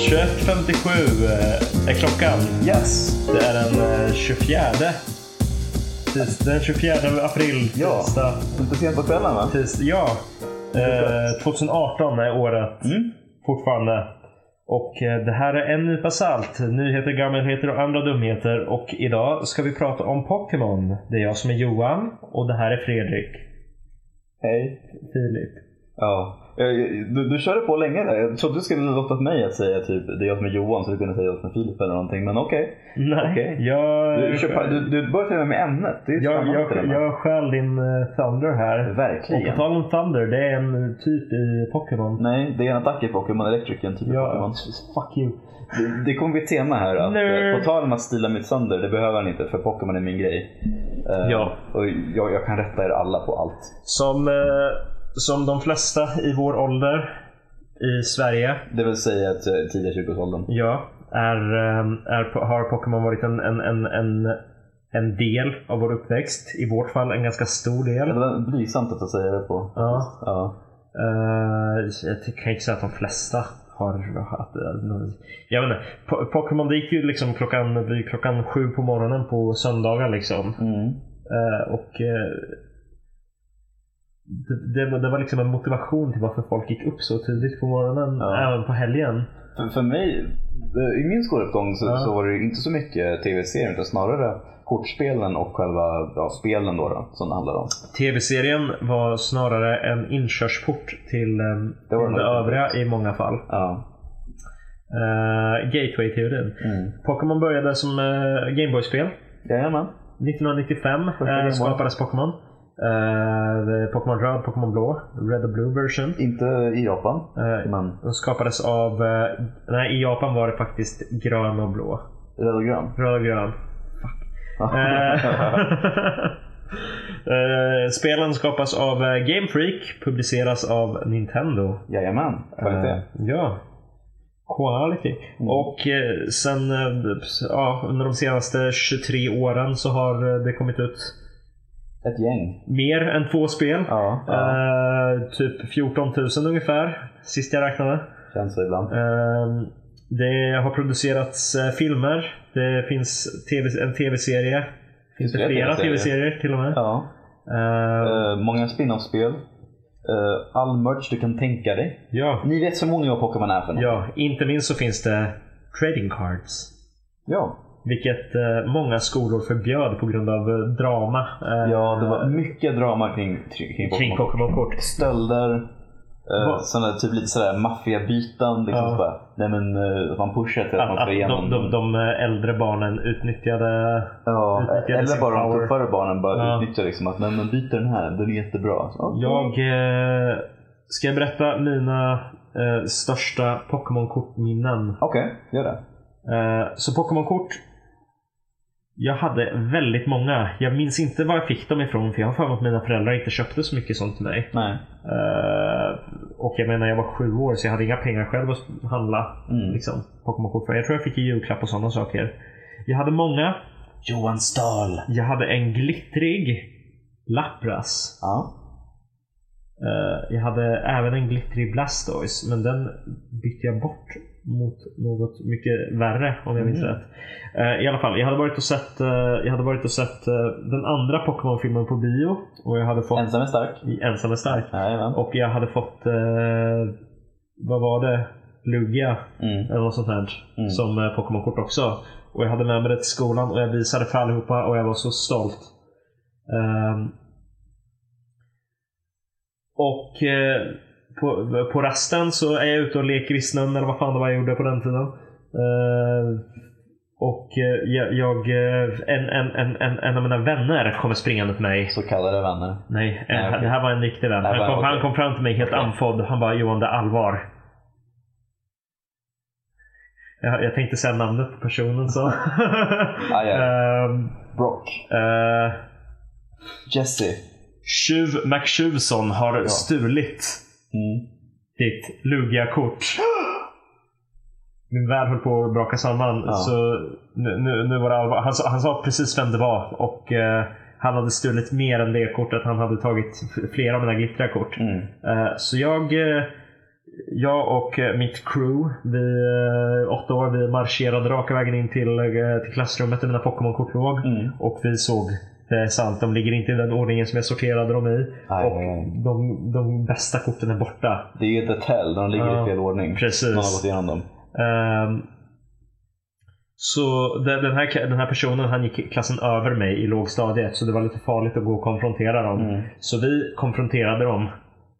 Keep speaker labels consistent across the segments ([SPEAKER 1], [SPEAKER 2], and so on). [SPEAKER 1] 21.57 eh, är klockan.
[SPEAKER 2] Yes.
[SPEAKER 1] Det är den eh, 24. Tis, den 24 april.
[SPEAKER 2] Ja.
[SPEAKER 1] Tisdag.
[SPEAKER 2] Inte sent på kvällen va?
[SPEAKER 1] Tis, ja. Eh, 2018 är året fortfarande. Och eh, det här är en nypa salt. Nyheter, gammelheter och andra dumheter. Och idag ska vi prata om Pokémon. Det är jag som är Johan och det här är Fredrik.
[SPEAKER 2] Hej.
[SPEAKER 1] Filip.
[SPEAKER 2] Ja. Eh, Du, du körde på länge där. Jag trodde du skulle låtit mig att säga typ det är jag som är Johan så du kunde säga jag som är Filip eller någonting. Men okej.
[SPEAKER 1] Nej,
[SPEAKER 2] Okej.
[SPEAKER 1] jag,
[SPEAKER 2] Du, du, kör, du, du börjar till och med med ämnet. Det är ju
[SPEAKER 1] jag,
[SPEAKER 2] spännande
[SPEAKER 1] jag,
[SPEAKER 2] till och med.
[SPEAKER 1] jag stjäl din eh, Thunder här. Och på
[SPEAKER 2] Verkligen.
[SPEAKER 1] tal om Thunder, det är en typ i Pokémon.
[SPEAKER 2] Nej, det är en attack i Pokémon Electric, en typ av
[SPEAKER 1] Ja.
[SPEAKER 2] Pokémon. Fuck you. Det, det kommer bli ett tema här. Att,
[SPEAKER 1] Nerd.
[SPEAKER 2] eh, på tal om att stila mitt sönder, det behöver han inte för Pokémon är min grej. Eh,
[SPEAKER 1] Ja.
[SPEAKER 2] Och jag, jag kan rätta er alla på allt.
[SPEAKER 1] Som, eh, som de flesta i vår ålder i Sverige
[SPEAKER 2] Det vill säga att eh, tidiga 20-årsåldern.
[SPEAKER 1] ja, är, eh, är, har Pokémon varit en, en, en, en, en del av vår uppväxt. I vårt fall en ganska stor
[SPEAKER 2] Det
[SPEAKER 1] del.
[SPEAKER 2] var blygsamt att säga det på.
[SPEAKER 1] Ja.
[SPEAKER 2] Ja.
[SPEAKER 1] Eh, jag kan ju inte säga att de flesta har haft eh, Jag vet inte. Po- Pokémon det gick ju liksom klockan, vid klockan sju på morgonen på söndagar liksom.
[SPEAKER 2] Mm.
[SPEAKER 1] Eh, och eh, det, det, var- det var liksom en motivation till varför folk gick upp så tidigt på morgonen,
[SPEAKER 2] Ja.
[SPEAKER 1] även på helgen.
[SPEAKER 2] För, för mig, eh, i min skoluppgång så,
[SPEAKER 1] Ja.
[SPEAKER 2] så var det ju inte så mycket tv-serier utan snarare kortspelen och själva ja, spelen då, då som det handlar om.
[SPEAKER 1] TV-serien var snarare en inkörsport till, eh,
[SPEAKER 2] Det var
[SPEAKER 1] till det
[SPEAKER 2] nog
[SPEAKER 1] övriga i många fall.
[SPEAKER 2] Ja.
[SPEAKER 1] Eh, Gateway-teorin.
[SPEAKER 2] Mm.
[SPEAKER 1] Pokémon började som eh, Gameboy-spel.
[SPEAKER 2] Jajamän.
[SPEAKER 1] 1995
[SPEAKER 2] Första
[SPEAKER 1] eh,
[SPEAKER 2] Gameboy.
[SPEAKER 1] skapades Pokémon. Eh, Pokémon röd, Pokémon blå, Red och Blue version.
[SPEAKER 2] Inte i Japan,
[SPEAKER 1] Eh,
[SPEAKER 2] men
[SPEAKER 1] de skapades av, eh, nej i Japan var det faktiskt grön och blå.
[SPEAKER 2] röd och grön.
[SPEAKER 1] Röd och grön. Eh, eh, Spelen skapas av eh, Game Freak, publiceras av Nintendo.
[SPEAKER 2] Jajamän,
[SPEAKER 1] Eh,
[SPEAKER 2] kvalitet. Mm.
[SPEAKER 1] Ja. Quality. Och eh, sen eh, ja, under de senaste 23 åren så har eh, det kommit ut
[SPEAKER 2] Ett gäng.
[SPEAKER 1] mer än två spel.
[SPEAKER 2] Ja, ja.
[SPEAKER 1] Eh, typ 14 000 ungefär, sist jag räknade.
[SPEAKER 2] känns så ibland.
[SPEAKER 1] Eh, det har producerats eh, filmer. Det finns TV, en tv-serie. Finns
[SPEAKER 2] Finns
[SPEAKER 1] det
[SPEAKER 2] flera
[SPEAKER 1] flera
[SPEAKER 2] TV-serier?
[SPEAKER 1] tv-serier till och med.
[SPEAKER 2] Ja.
[SPEAKER 1] Eh,
[SPEAKER 2] Eh, många spin-off-spel. Eh, all merch du kan tänka dig.
[SPEAKER 1] ja.
[SPEAKER 2] Ni vet förmodligen vad Pokémon är för något.
[SPEAKER 1] ja, inte minst så finns det trading cards.
[SPEAKER 2] ja.
[SPEAKER 1] Vilket eh, många skolor förbjöd på grund av eh, drama. eh,
[SPEAKER 2] Ja, det var mycket drama kring, kring,
[SPEAKER 1] kring
[SPEAKER 2] Pokémon.
[SPEAKER 1] Pokémon-kort.
[SPEAKER 2] Stölder, eh,
[SPEAKER 1] Vad-
[SPEAKER 2] sådana, typ lite sådär maffiabyten. Liksom,
[SPEAKER 1] Ja.
[SPEAKER 2] så bara, nej men eh, man pushar till att,
[SPEAKER 1] Att,
[SPEAKER 2] man
[SPEAKER 1] att
[SPEAKER 2] ska igenom.
[SPEAKER 1] de, de, de äldre barnen utnyttjade...
[SPEAKER 2] ja,
[SPEAKER 1] utnyttjar sin
[SPEAKER 2] eller bara de
[SPEAKER 1] power.
[SPEAKER 2] tuffare barnen bara
[SPEAKER 1] Ja.
[SPEAKER 2] utnyttjar liksom att nej men byt den här, den är jättebra. Så, okej.
[SPEAKER 1] Jag... Eh, ska jag berätta mina eh, största Pokémon-kortminnen?
[SPEAKER 2] Okej, gör det.
[SPEAKER 1] Eh, så Pokémon-kort. Jag hade väldigt många. Jag minns inte var jag fick dem ifrån för jag har för mig att mina föräldrar inte köpte så mycket sånt till mig.
[SPEAKER 2] Nej.
[SPEAKER 1] Eh, och jag menar jag var sju år så jag hade inga pengar själv att handla
[SPEAKER 2] Mm.
[SPEAKER 1] liksom, Pokémon-kort för. Jag tror jag fick i julklapp och sådana saker. Jag hade många.
[SPEAKER 2] Johan Stahl.
[SPEAKER 1] Jag hade en glittrig Lapras.
[SPEAKER 2] Ja.
[SPEAKER 1] Eh, jag hade även en glittrig Blastoise men den bytte jag bort mot något mycket värre om jag minns
[SPEAKER 2] Mm.
[SPEAKER 1] rätt. Eh, I alla fall, jag hade varit och sett, eh, jag hade varit och sett eh, den andra Pokémon-filmen på bio och jag hade fått
[SPEAKER 2] Ensam är stark.
[SPEAKER 1] i Ensam är stark.
[SPEAKER 2] Jajamän.
[SPEAKER 1] Och jag hade fått, eh, vad var det? Lugia
[SPEAKER 2] Mm.
[SPEAKER 1] eller något sånt här
[SPEAKER 2] Mm.
[SPEAKER 1] som eh, Pokémon-kort också. Och jag hade med mig det till skolan och jag visade för allihopa och jag var så stolt. Ehm. och eh, på, på rasten så är jag ute och leker i snön eller vad fan det var jag gjorde på den tiden. Ehm. och eh, jag, jag eh, en, en, en, en, en av mina vänner kommer springande till mig.
[SPEAKER 2] Så kallade vänner.
[SPEAKER 1] Nej,
[SPEAKER 2] Nej,
[SPEAKER 1] eh,
[SPEAKER 2] okej.
[SPEAKER 1] det här var en riktig vän.
[SPEAKER 2] Det här
[SPEAKER 1] Han
[SPEAKER 2] var-
[SPEAKER 1] kom, han
[SPEAKER 2] okej.
[SPEAKER 1] kom fram till mig helt
[SPEAKER 2] Okej.
[SPEAKER 1] andfådd. Han bara “Johan, det är allvar”. Jag, jag tänkte säga namnet på personen så.
[SPEAKER 2] Aj, aj.
[SPEAKER 1] Ehm,
[SPEAKER 2] Brock.
[SPEAKER 1] eh,
[SPEAKER 2] Jesse.
[SPEAKER 1] Tjuv McTjuvson har stulit
[SPEAKER 2] Mm.
[SPEAKER 1] ditt Lugia-kort. Min värld höll på att braka samman.
[SPEAKER 2] Ja.
[SPEAKER 1] Så nu, nu, nu var det allvar. Han, sa- han sa precis vem det var och eh, han hade stulit mer än det kortet. Han hade tagit f- flera av mina glittriga kort.
[SPEAKER 2] Mm.
[SPEAKER 1] Eh, Så jag, eh, jag och eh, mitt crew, vi eh, åtta år, vi marscherade raka vägen in till, eh, till klassrummet där mina Pokémon-kort låg.
[SPEAKER 2] Mm.
[SPEAKER 1] Och vi såg, det är sant, de ligger inte i den ordningen som jag sorterade dem i.
[SPEAKER 2] Aj,
[SPEAKER 1] och
[SPEAKER 2] aj, aj.
[SPEAKER 1] De, de bästa korten är borta.
[SPEAKER 2] Det är ju ett tell där de ligger
[SPEAKER 1] Ja,
[SPEAKER 2] i fel ordning.
[SPEAKER 1] precis.
[SPEAKER 2] Man har gått igenom dem.
[SPEAKER 1] Ehm, så den den här, den här personen han gick klassen över mig i lågstadiet så det var lite farligt att gå och konfrontera dem.
[SPEAKER 2] Mm.
[SPEAKER 1] Så vi konfronterade dem.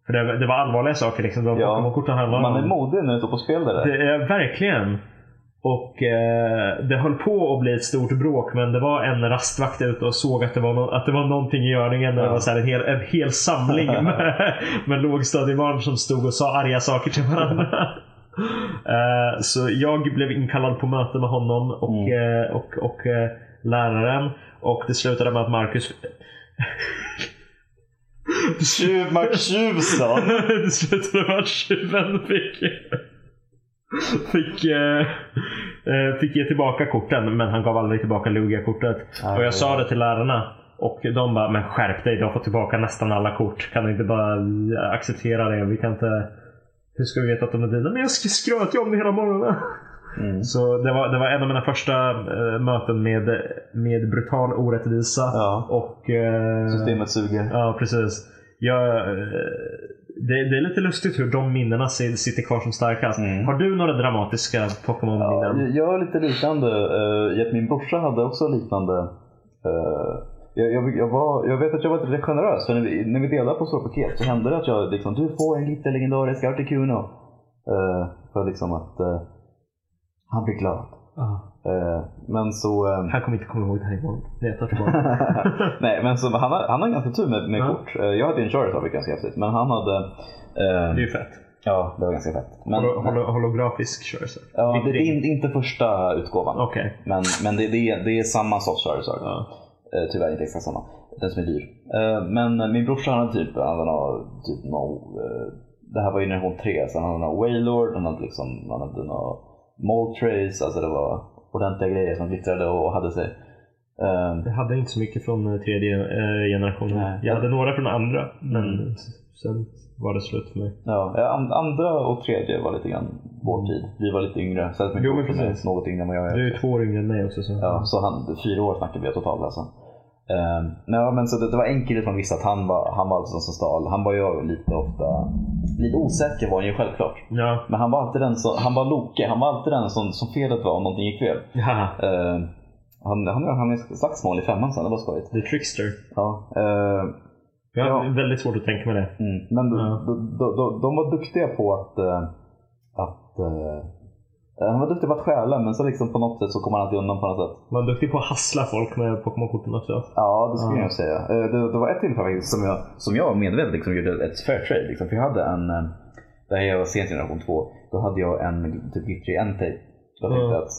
[SPEAKER 1] För det, det var allvarliga saker. Liksom. De
[SPEAKER 2] Ja.
[SPEAKER 1] Pokémon-korten handlade
[SPEAKER 2] Man är
[SPEAKER 1] om.
[SPEAKER 2] modig när det står på spel det där.
[SPEAKER 1] Det är verkligen. Och eh, det höll på att bli ett stort bråk men det var en rastvakt ute och såg att det var, no- att det var någonting i görningen. Det
[SPEAKER 2] Ja.
[SPEAKER 1] var så här en, hel, en hel samling med, med lågstadiebarn som stod och sa arga saker till varandra. Eh, Så jag blev inkallad på möte med honom och, eh, och, och eh, läraren. Och det slutade med att Marcus...
[SPEAKER 2] Tjuv Max Tjuvsson!
[SPEAKER 1] det slutade med att tjuven fick... Fick, eh, eh, fick ge tillbaka korten men han gav aldrig tillbaka Lugia-kortet.
[SPEAKER 2] Ah,
[SPEAKER 1] och
[SPEAKER 2] ja.
[SPEAKER 1] jag sa det till lärarna. Och de bara, men skärp dig, du har fått tillbaka nästan alla kort. Kan du inte bara eh, acceptera det? Vi kan inte... Hur ska vi veta att de är dina? Men jag sk- skröt ju om det hela morgonen.
[SPEAKER 2] Mm.
[SPEAKER 1] Så det var, det var en av mina första eh, möten med, med brutal orättvisa.
[SPEAKER 2] Ja,
[SPEAKER 1] Och, eh,
[SPEAKER 2] systemet suger.
[SPEAKER 1] Ja, precis. Jag, eh, det, det är lite lustigt hur de minnena si- sitter kvar som starkast.
[SPEAKER 2] Mm.
[SPEAKER 1] Har du några dramatiska
[SPEAKER 2] Ja,
[SPEAKER 1] Pokémon-minnen?
[SPEAKER 2] jag- jag har lite liknande. eh, i att min brorsa hade också liknande. eh, jag, jag, jag, var, jag vet att jag var lite generös. För när vi, när vi delade på stora paket så hände det att jag liksom, du får en liten legendarisk Articuno. Uh, för liksom att eh, han blir glad.
[SPEAKER 1] Ja.
[SPEAKER 2] Eh, men så... eh,
[SPEAKER 1] Han kommer inte komma ihåg det här imorgon. Det är jag tar tillbaka.
[SPEAKER 2] Nej, men så, han, har, han har ganska tur med, med
[SPEAKER 1] Ja.
[SPEAKER 2] kort. Eh, Jag hade ju en Charizard, vilket är ganska häftigt. Men han hade... eh,
[SPEAKER 1] Det är ju fett.
[SPEAKER 2] ja, det var ganska fett. Men,
[SPEAKER 1] Holo- holo- holografisk Charizard.
[SPEAKER 2] ja, det,
[SPEAKER 1] Vitt
[SPEAKER 2] det
[SPEAKER 1] ring.
[SPEAKER 2] är in- inte första utgåvan.
[SPEAKER 1] Okej.
[SPEAKER 2] Men, men det, det, är, det är samma sorts Charizard.
[SPEAKER 1] Ja.
[SPEAKER 2] Eh, Tyvärr inte exakt samma. Den som är dyr. Eh, Men min brorsa han hade typ, han hade någon, typ någon, eh, det här var ju generation 3, så han hade någon Wailord, han hade liksom, han hade någon Moltres, alltså det var ordentliga grejer som glittrade och hade sig. Eh,
[SPEAKER 1] Jag hade inte så mycket från eh, tredje eh, generationen.
[SPEAKER 2] Nej.
[SPEAKER 1] Jag hade några från andra, men sen var det slut för mig.
[SPEAKER 2] Ja, eh, an- andra och tredje var lite grann vår tid. Vi var lite yngre, så att min
[SPEAKER 1] Mm. Jo, men
[SPEAKER 2] brorsa är
[SPEAKER 1] precis.
[SPEAKER 2] något yngre än vad jag är.
[SPEAKER 1] Du är ju två år yngre än mig också. Så.
[SPEAKER 2] Ja, så han, fyra år snackar vi totalt alltså. Um, nej, men så det, det var en kille som visste att han var, han var alltså som stal. Han var ju lite ofta, lite osäker var han ju självklart.
[SPEAKER 1] Ja.
[SPEAKER 2] Men han var alltid den som, han var Loke, han var alltid den som, som felet var om någonting gick fel.
[SPEAKER 1] Haha.
[SPEAKER 2] Ehm, han han hamnade i slagsmål i femman sen, det var skojigt.
[SPEAKER 1] The Trickster.
[SPEAKER 2] Ja, ehm,
[SPEAKER 1] Jag har
[SPEAKER 2] Ja.
[SPEAKER 1] väldigt svårt att tänka mig det.
[SPEAKER 2] Mm. Men d-
[SPEAKER 1] Ja.
[SPEAKER 2] d- d- d- de var duktiga på att... eh, att eh, han var duktig på att stjäla men så liksom på något sätt så kom han alltid undan på något sätt.
[SPEAKER 1] Man är duktig på att hassla folk med Pokémon-korten också.
[SPEAKER 2] Ja, det skulle
[SPEAKER 1] Ja.
[SPEAKER 2] jag säga. Eh, Det, det var ett tillfälle faktiskt som jag, som jag medvetet liksom gjorde ett fair trade. Liksom. För jag hade en, eh, det här var sent i generation 2, då hade jag en typ glittrig Entei. Jag tänkte
[SPEAKER 1] Mm.
[SPEAKER 2] att,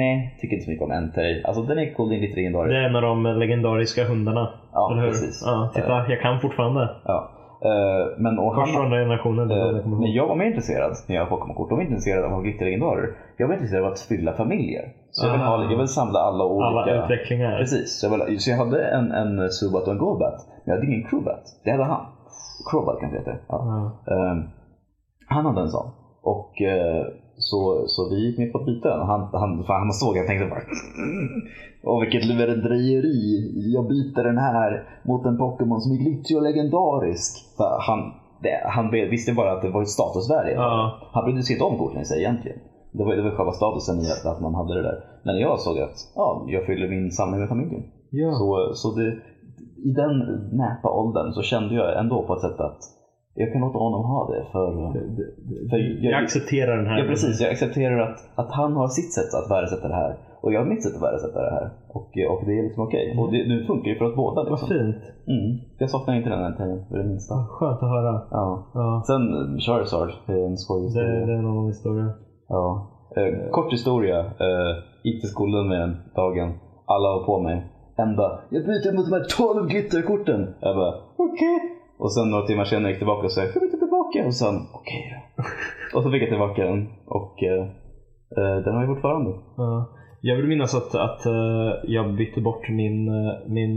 [SPEAKER 2] nej, tycker inte så mycket om Entei. Alltså den är cool, den är glittrig
[SPEAKER 1] Det
[SPEAKER 2] legendarisk.
[SPEAKER 1] är en av de legendariska hundarna.
[SPEAKER 2] Ja,
[SPEAKER 1] eller hur?
[SPEAKER 2] precis. Eh,
[SPEAKER 1] Ja, titta, jag kan fortfarande.
[SPEAKER 2] Ja. Eh, Men, och
[SPEAKER 1] Först
[SPEAKER 2] han,
[SPEAKER 1] från andra generationen. Det är det jag kommer
[SPEAKER 2] Men
[SPEAKER 1] ihåg.
[SPEAKER 2] jag var mer intresserad när jag har kort. De var inte intresserade av att ha glitterlegendarer. Jag var intresserad av att fylla familjer. Så jag vill, ha, jag vill samla alla olika.
[SPEAKER 1] Alla utvecklingar.
[SPEAKER 2] Precis. Så jag, vill, så jag hade en, en Subat och en Golbat. Men jag hade ingen Crewbat. Det hade han. Crowbat kanske det heter. Ja.
[SPEAKER 1] Ja.
[SPEAKER 2] Ehm, han hade en sån. Och eh, så, så vi gick med på att byta den. Och Han, han, fan, han såg jag tänkte bara "Mm, Åh vilket lurendrejeri. Jag byter den här mot en Pokémon som är glittrig och legendarisk. För han, det, han be- visste bara att det var ett statusvärde.
[SPEAKER 1] Ja.
[SPEAKER 2] Han brydde sig inte om korten i sig egentligen. Det var, det var själva statusen i att, att man hade det där. Men jag såg att ja, jag fyller min samling med familjen.
[SPEAKER 1] Ja.
[SPEAKER 2] Så, så det, i den näpa åldern så kände jag ändå på ett sätt att jag kan låta honom ha det. För, för
[SPEAKER 1] Jag
[SPEAKER 2] jag,
[SPEAKER 1] accepterar den här.
[SPEAKER 2] jag, precis, jag accepterar att, att han har sitt sätt att värdesätta det här och jag har mitt sätt att värdesätta det här. Och, och det är liksom okej. Och det, det funkar ju för oss båda.
[SPEAKER 1] Vad
[SPEAKER 2] Liksom.
[SPEAKER 1] fint.
[SPEAKER 2] Mm. Jag saknar inte den här tiden för det minsta.
[SPEAKER 1] Vad Skönt att höra.
[SPEAKER 2] Ja.
[SPEAKER 1] Ja.
[SPEAKER 2] Sen eh, Charizard, det är en skojig
[SPEAKER 1] Det,
[SPEAKER 2] historia.
[SPEAKER 1] det är en annan historia.
[SPEAKER 2] Ja. Eh, kort historia. Eh, gick till skolan med den dagen. Alla var på mig. En bara, jag byter mot de här 12 glitterkorten. Jag bara, okej. Och sen några timmar senare gick jag tillbaka och sa, jag byter tillbaka. Och sen, okej då. och så fick jag tillbaka den. Och eh, eh, den har jag fortfarande.
[SPEAKER 1] Ja. Jag vill minnas att, att eh, jag bytte bort min, eh, min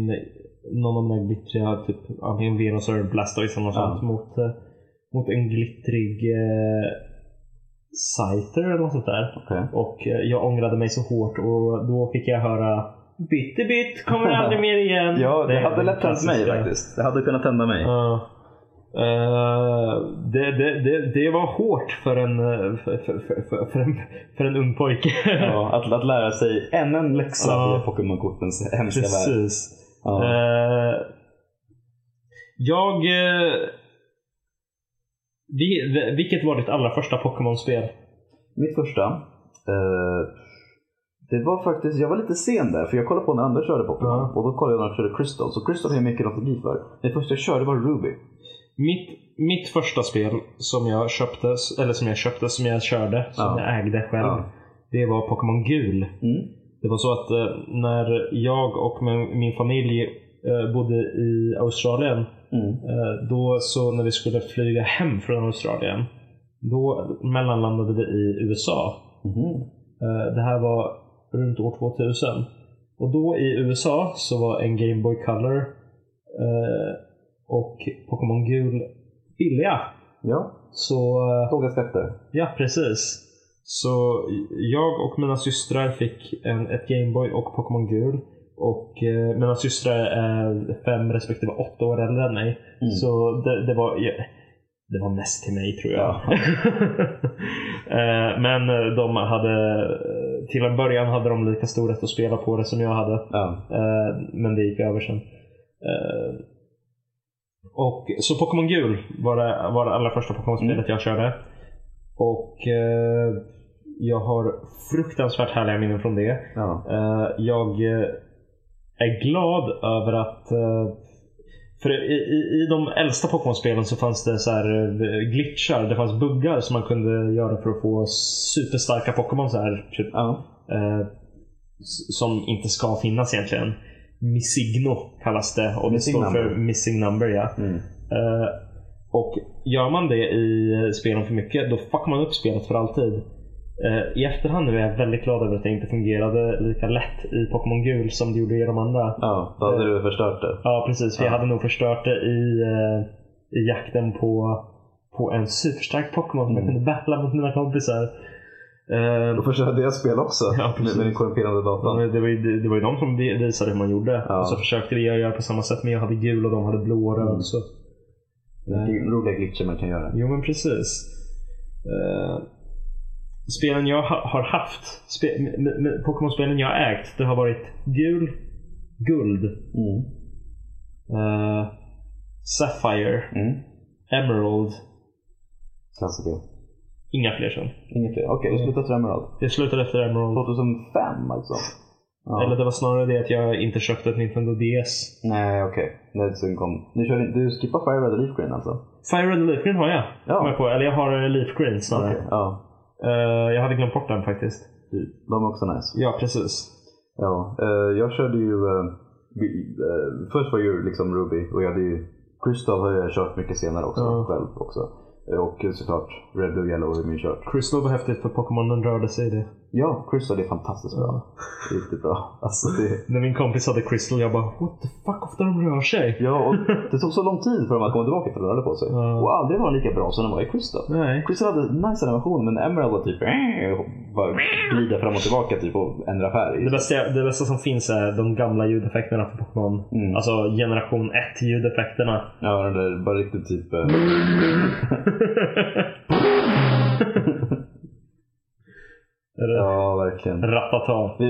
[SPEAKER 1] någon av mina glittriga, typ, antingen Venus eller Blastoise eller något
[SPEAKER 2] Ja.
[SPEAKER 1] sånt mot, eh, mot en glittrig eh, Scyther eller något sånt där.
[SPEAKER 2] Okej.
[SPEAKER 1] Och eh, jag ångrade mig så hårt och då fick jag höra Bitti bit kommer aldrig mer igen.
[SPEAKER 2] Ja, det,
[SPEAKER 1] är
[SPEAKER 2] hade
[SPEAKER 1] den
[SPEAKER 2] lätt hänt mig
[SPEAKER 1] klassiska.
[SPEAKER 2] faktiskt. Det hade kunnat hända mig.
[SPEAKER 1] Ja. Eh, det, det, det, det var hårt för en, eh, för, för, för, för, för en, för en ung pojke.
[SPEAKER 2] Ja, att, att lära sig ännu en läxa
[SPEAKER 1] Ja.
[SPEAKER 2] i Pokémon-kortens hemska värld.
[SPEAKER 1] Precis.
[SPEAKER 2] Ja.
[SPEAKER 1] Eh, jag... eh, vi, vilket var ditt allra första Pokémon-spel?
[SPEAKER 2] Mitt första. eh, det var faktiskt, jag var lite sen där för jag kollade på när andra körde Pokémon.
[SPEAKER 1] Ja.
[SPEAKER 2] Och då kollade jag när de körde Crystal. Så Crystal har jag mycket nostalgi för. Det första jag körde var Ruby.
[SPEAKER 1] Mitt, mitt första spel som jag köpte, eller som jag köpte, som jag körde, som
[SPEAKER 2] Ja.
[SPEAKER 1] jag ägde själv.
[SPEAKER 2] Ja.
[SPEAKER 1] Det var Pokémon Gul.
[SPEAKER 2] Mm.
[SPEAKER 1] Det var så att eh, när jag och min, min familj eh, bodde i Australien
[SPEAKER 2] Mm.
[SPEAKER 1] Eh, Då så när vi skulle flyga hem från Australien, då mellanlandade vi i USA.
[SPEAKER 2] Mhm.
[SPEAKER 1] Eh, Det här var runt år 2000. Och då i USA så var en Game Boy Color eh, och Pokémon Gul billiga.
[SPEAKER 2] Ja,
[SPEAKER 1] Så eh,
[SPEAKER 2] låga skatter.
[SPEAKER 1] ja, precis. Så jag och mina systrar fick en, ett Gameboy och Pokémon Gul. Och eh, mina systrar är fem respektive åtta år äldre än mig.
[SPEAKER 2] Mm.
[SPEAKER 1] Så det, det var ja, det var mest till mig tror jag. Eh, Men eh, de hade eh, till en början hade de lika stor rätt att spela på det som jag hade.
[SPEAKER 2] Ja.
[SPEAKER 1] Eh, Men det gick över sen. Eh, Och, så Pokémon Gul var det, var det allra första Pokémon-spelet jag körde. Och eh, jag har fruktansvärt härliga minnen från det.
[SPEAKER 2] Ja.
[SPEAKER 1] Eh, jag eh, är glad över att eh, för i, i, i de äldsta Pokémon-spelen så fanns det så här eh, glitchar, det fanns buggar som man kunde göra för att få superstarka Pokémon så här, typ,
[SPEAKER 2] Ja.
[SPEAKER 1] eh, s- som inte ska finnas egentligen. Missigno kallas det och det
[SPEAKER 2] Missing
[SPEAKER 1] står för
[SPEAKER 2] number.
[SPEAKER 1] Missing Number. Ja.
[SPEAKER 2] Mm.
[SPEAKER 1] Eh, och gör man det i spelen för mycket, då fuckar man upp spelet för alltid. Eh, I efterhand nu är jag väldigt glad över att det inte fungerade lika lätt i Pokémon Gul som det gjorde i de andra.
[SPEAKER 2] ja, då hade du förstört det.
[SPEAKER 1] Ja, precis. För jag
[SPEAKER 2] Ja.
[SPEAKER 1] hade nog förstört det i, eh, i jakten på, på en superstark Pokémon som jag
[SPEAKER 2] Mm.
[SPEAKER 1] kunde battla mot mina kompisar. Eh,
[SPEAKER 2] Då förstörde jag spel också.
[SPEAKER 1] Ja,
[SPEAKER 2] med,
[SPEAKER 1] precis.
[SPEAKER 2] med den korrumperande datan.
[SPEAKER 1] det, var ju, det- det var ju de som vi- visade hur man gjorde.
[SPEAKER 2] Ja.
[SPEAKER 1] Och så försökte vi göra på samma sätt, men jag hade gul och de hade blå och röd.
[SPEAKER 2] Mm.
[SPEAKER 1] Så.
[SPEAKER 2] Vilka Mm. roliga glitcher man kan göra.
[SPEAKER 1] Jo men precis. Eh, spelen jag ha, har haft, spe, m- m- m- Pokémon-spelen jag har ägt, det har varit gul, guld,
[SPEAKER 2] Mm.
[SPEAKER 1] eh, Sapphire,
[SPEAKER 2] Mm.
[SPEAKER 1] Emerald,
[SPEAKER 2] Klassiker. Mm.
[SPEAKER 1] inga fler sen.
[SPEAKER 2] Inget fler. Okej, du slutade för Emerald.
[SPEAKER 1] Jag slutade efter Emerald.
[SPEAKER 2] 2005 alltså? Ja.
[SPEAKER 1] Eller det var snarare det att jag inte köpte ett Nintendo DS.
[SPEAKER 2] Nej, okej. Okay. Sen kom... Du, körde, du skippade Fire Red och Leaf Green alltså?
[SPEAKER 1] Fire Red och Leaf Green har jag.
[SPEAKER 2] Ja.
[SPEAKER 1] Kom jag på. Eller jag har eh, Leaf Green snarare.
[SPEAKER 2] Ja.
[SPEAKER 1] Eh, jag hade glömt bort den faktiskt.
[SPEAKER 2] De är också nice.
[SPEAKER 1] Ja, precis.
[SPEAKER 2] Ja. eh, jag körde ju... eh, vi- eh, först var ju liksom Ruby och jag hade ju... Crystal har jag kört mycket senare också.
[SPEAKER 1] Ja.
[SPEAKER 2] Själv också. Eh, Och såklart Red, Blue, Yellow har jag kört.
[SPEAKER 1] Crystal var häftigt för Pokémonen rörde sig i det.
[SPEAKER 2] Ja, Crystal är fantastiskt bra. Riktigt bra. Alltså det...
[SPEAKER 1] När min kompis hade Crystal, jag bara What the fuck ofta de rör sig?
[SPEAKER 2] Ja, och det tog så lång tid för dem att komma tillbaka till att röra på sig.
[SPEAKER 1] Ja.
[SPEAKER 2] Och aldrig var de lika bra som de var i Crystal.
[SPEAKER 1] Nej.
[SPEAKER 2] Crystal hade nice animation men Emerald var typ eh, och bara glida fram och tillbaka typ och ändra
[SPEAKER 1] Det
[SPEAKER 2] färg.
[SPEAKER 1] bästa, det bästa som finns är de gamla ljudeffekterna för Pokémon.
[SPEAKER 2] Mm.
[SPEAKER 1] Alltså generation 1 ljudeffekterna.
[SPEAKER 2] Ja, den där bara riktigt typ... eh,
[SPEAKER 1] Mm. Eller
[SPEAKER 2] Ja, verkligen.
[SPEAKER 1] Ratata.
[SPEAKER 2] Vi,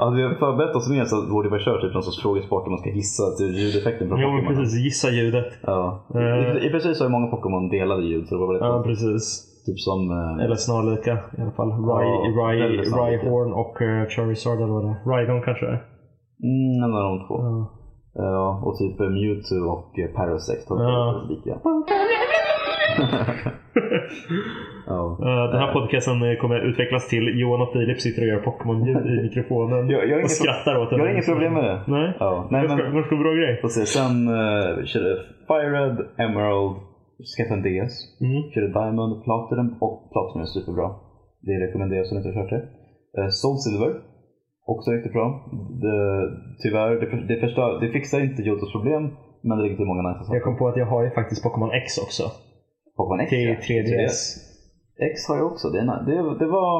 [SPEAKER 2] hade vi förberett oss mer så borde vi ha kört typ någon sorts frågesport där man ska gissa till ljudeffekten från
[SPEAKER 1] Jo men
[SPEAKER 2] Pokémon.
[SPEAKER 1] precis, gissa ljudet.
[SPEAKER 2] Ja.
[SPEAKER 1] Eh.
[SPEAKER 2] I- I och för sig så är många Pokémon delade ljud så det var väl
[SPEAKER 1] Ja
[SPEAKER 2] ja.
[SPEAKER 1] precis.
[SPEAKER 2] typ som... eh,
[SPEAKER 1] Eller snarlika i alla fall.
[SPEAKER 2] Ja,
[SPEAKER 1] Rai,
[SPEAKER 2] väldigt
[SPEAKER 1] Rai,
[SPEAKER 2] snarlika.
[SPEAKER 1] Horn och uh, Charizard eller vad det är. Rhydon kanske det är.
[SPEAKER 2] Mm, en av de två.
[SPEAKER 1] Ja.
[SPEAKER 2] Ja, och typ eh, Mewtwo och eh, Parasect har
[SPEAKER 1] Ja.
[SPEAKER 2] varit lika. ja.
[SPEAKER 1] Eh, den här podcasten eh, kommer utvecklas till Johan och Filip sitter och gör Pokémon-ljud i mikrofonen.
[SPEAKER 2] Jag- jag har inget
[SPEAKER 1] och skrattar åt
[SPEAKER 2] Jag har
[SPEAKER 1] den.
[SPEAKER 2] inget problem med det.
[SPEAKER 1] Nej.
[SPEAKER 2] Ja.
[SPEAKER 1] Nej
[SPEAKER 2] Nej, men,
[SPEAKER 1] men... Ganska bra grej.
[SPEAKER 2] får se. Sen uh, körde Fire Red, Emerald, skaffade en DS.
[SPEAKER 1] Mm.
[SPEAKER 2] Körde Diamond, Platinum och Platinum är superbra. Det rekommenderas om ni inte har kört det. Eh, Soul Silver, också riktigt bra. Det, tyvärr, det, för- det, förstör, det fixar inte Jotos problem. Men det ligger till många nice saker.
[SPEAKER 1] Jag kom på att jag har ju faktiskt Pokémon X också.
[SPEAKER 2] Pokémon X
[SPEAKER 1] Till
[SPEAKER 2] ja.
[SPEAKER 1] 3DS.
[SPEAKER 2] X har jag också. Det, är nice. det, det var...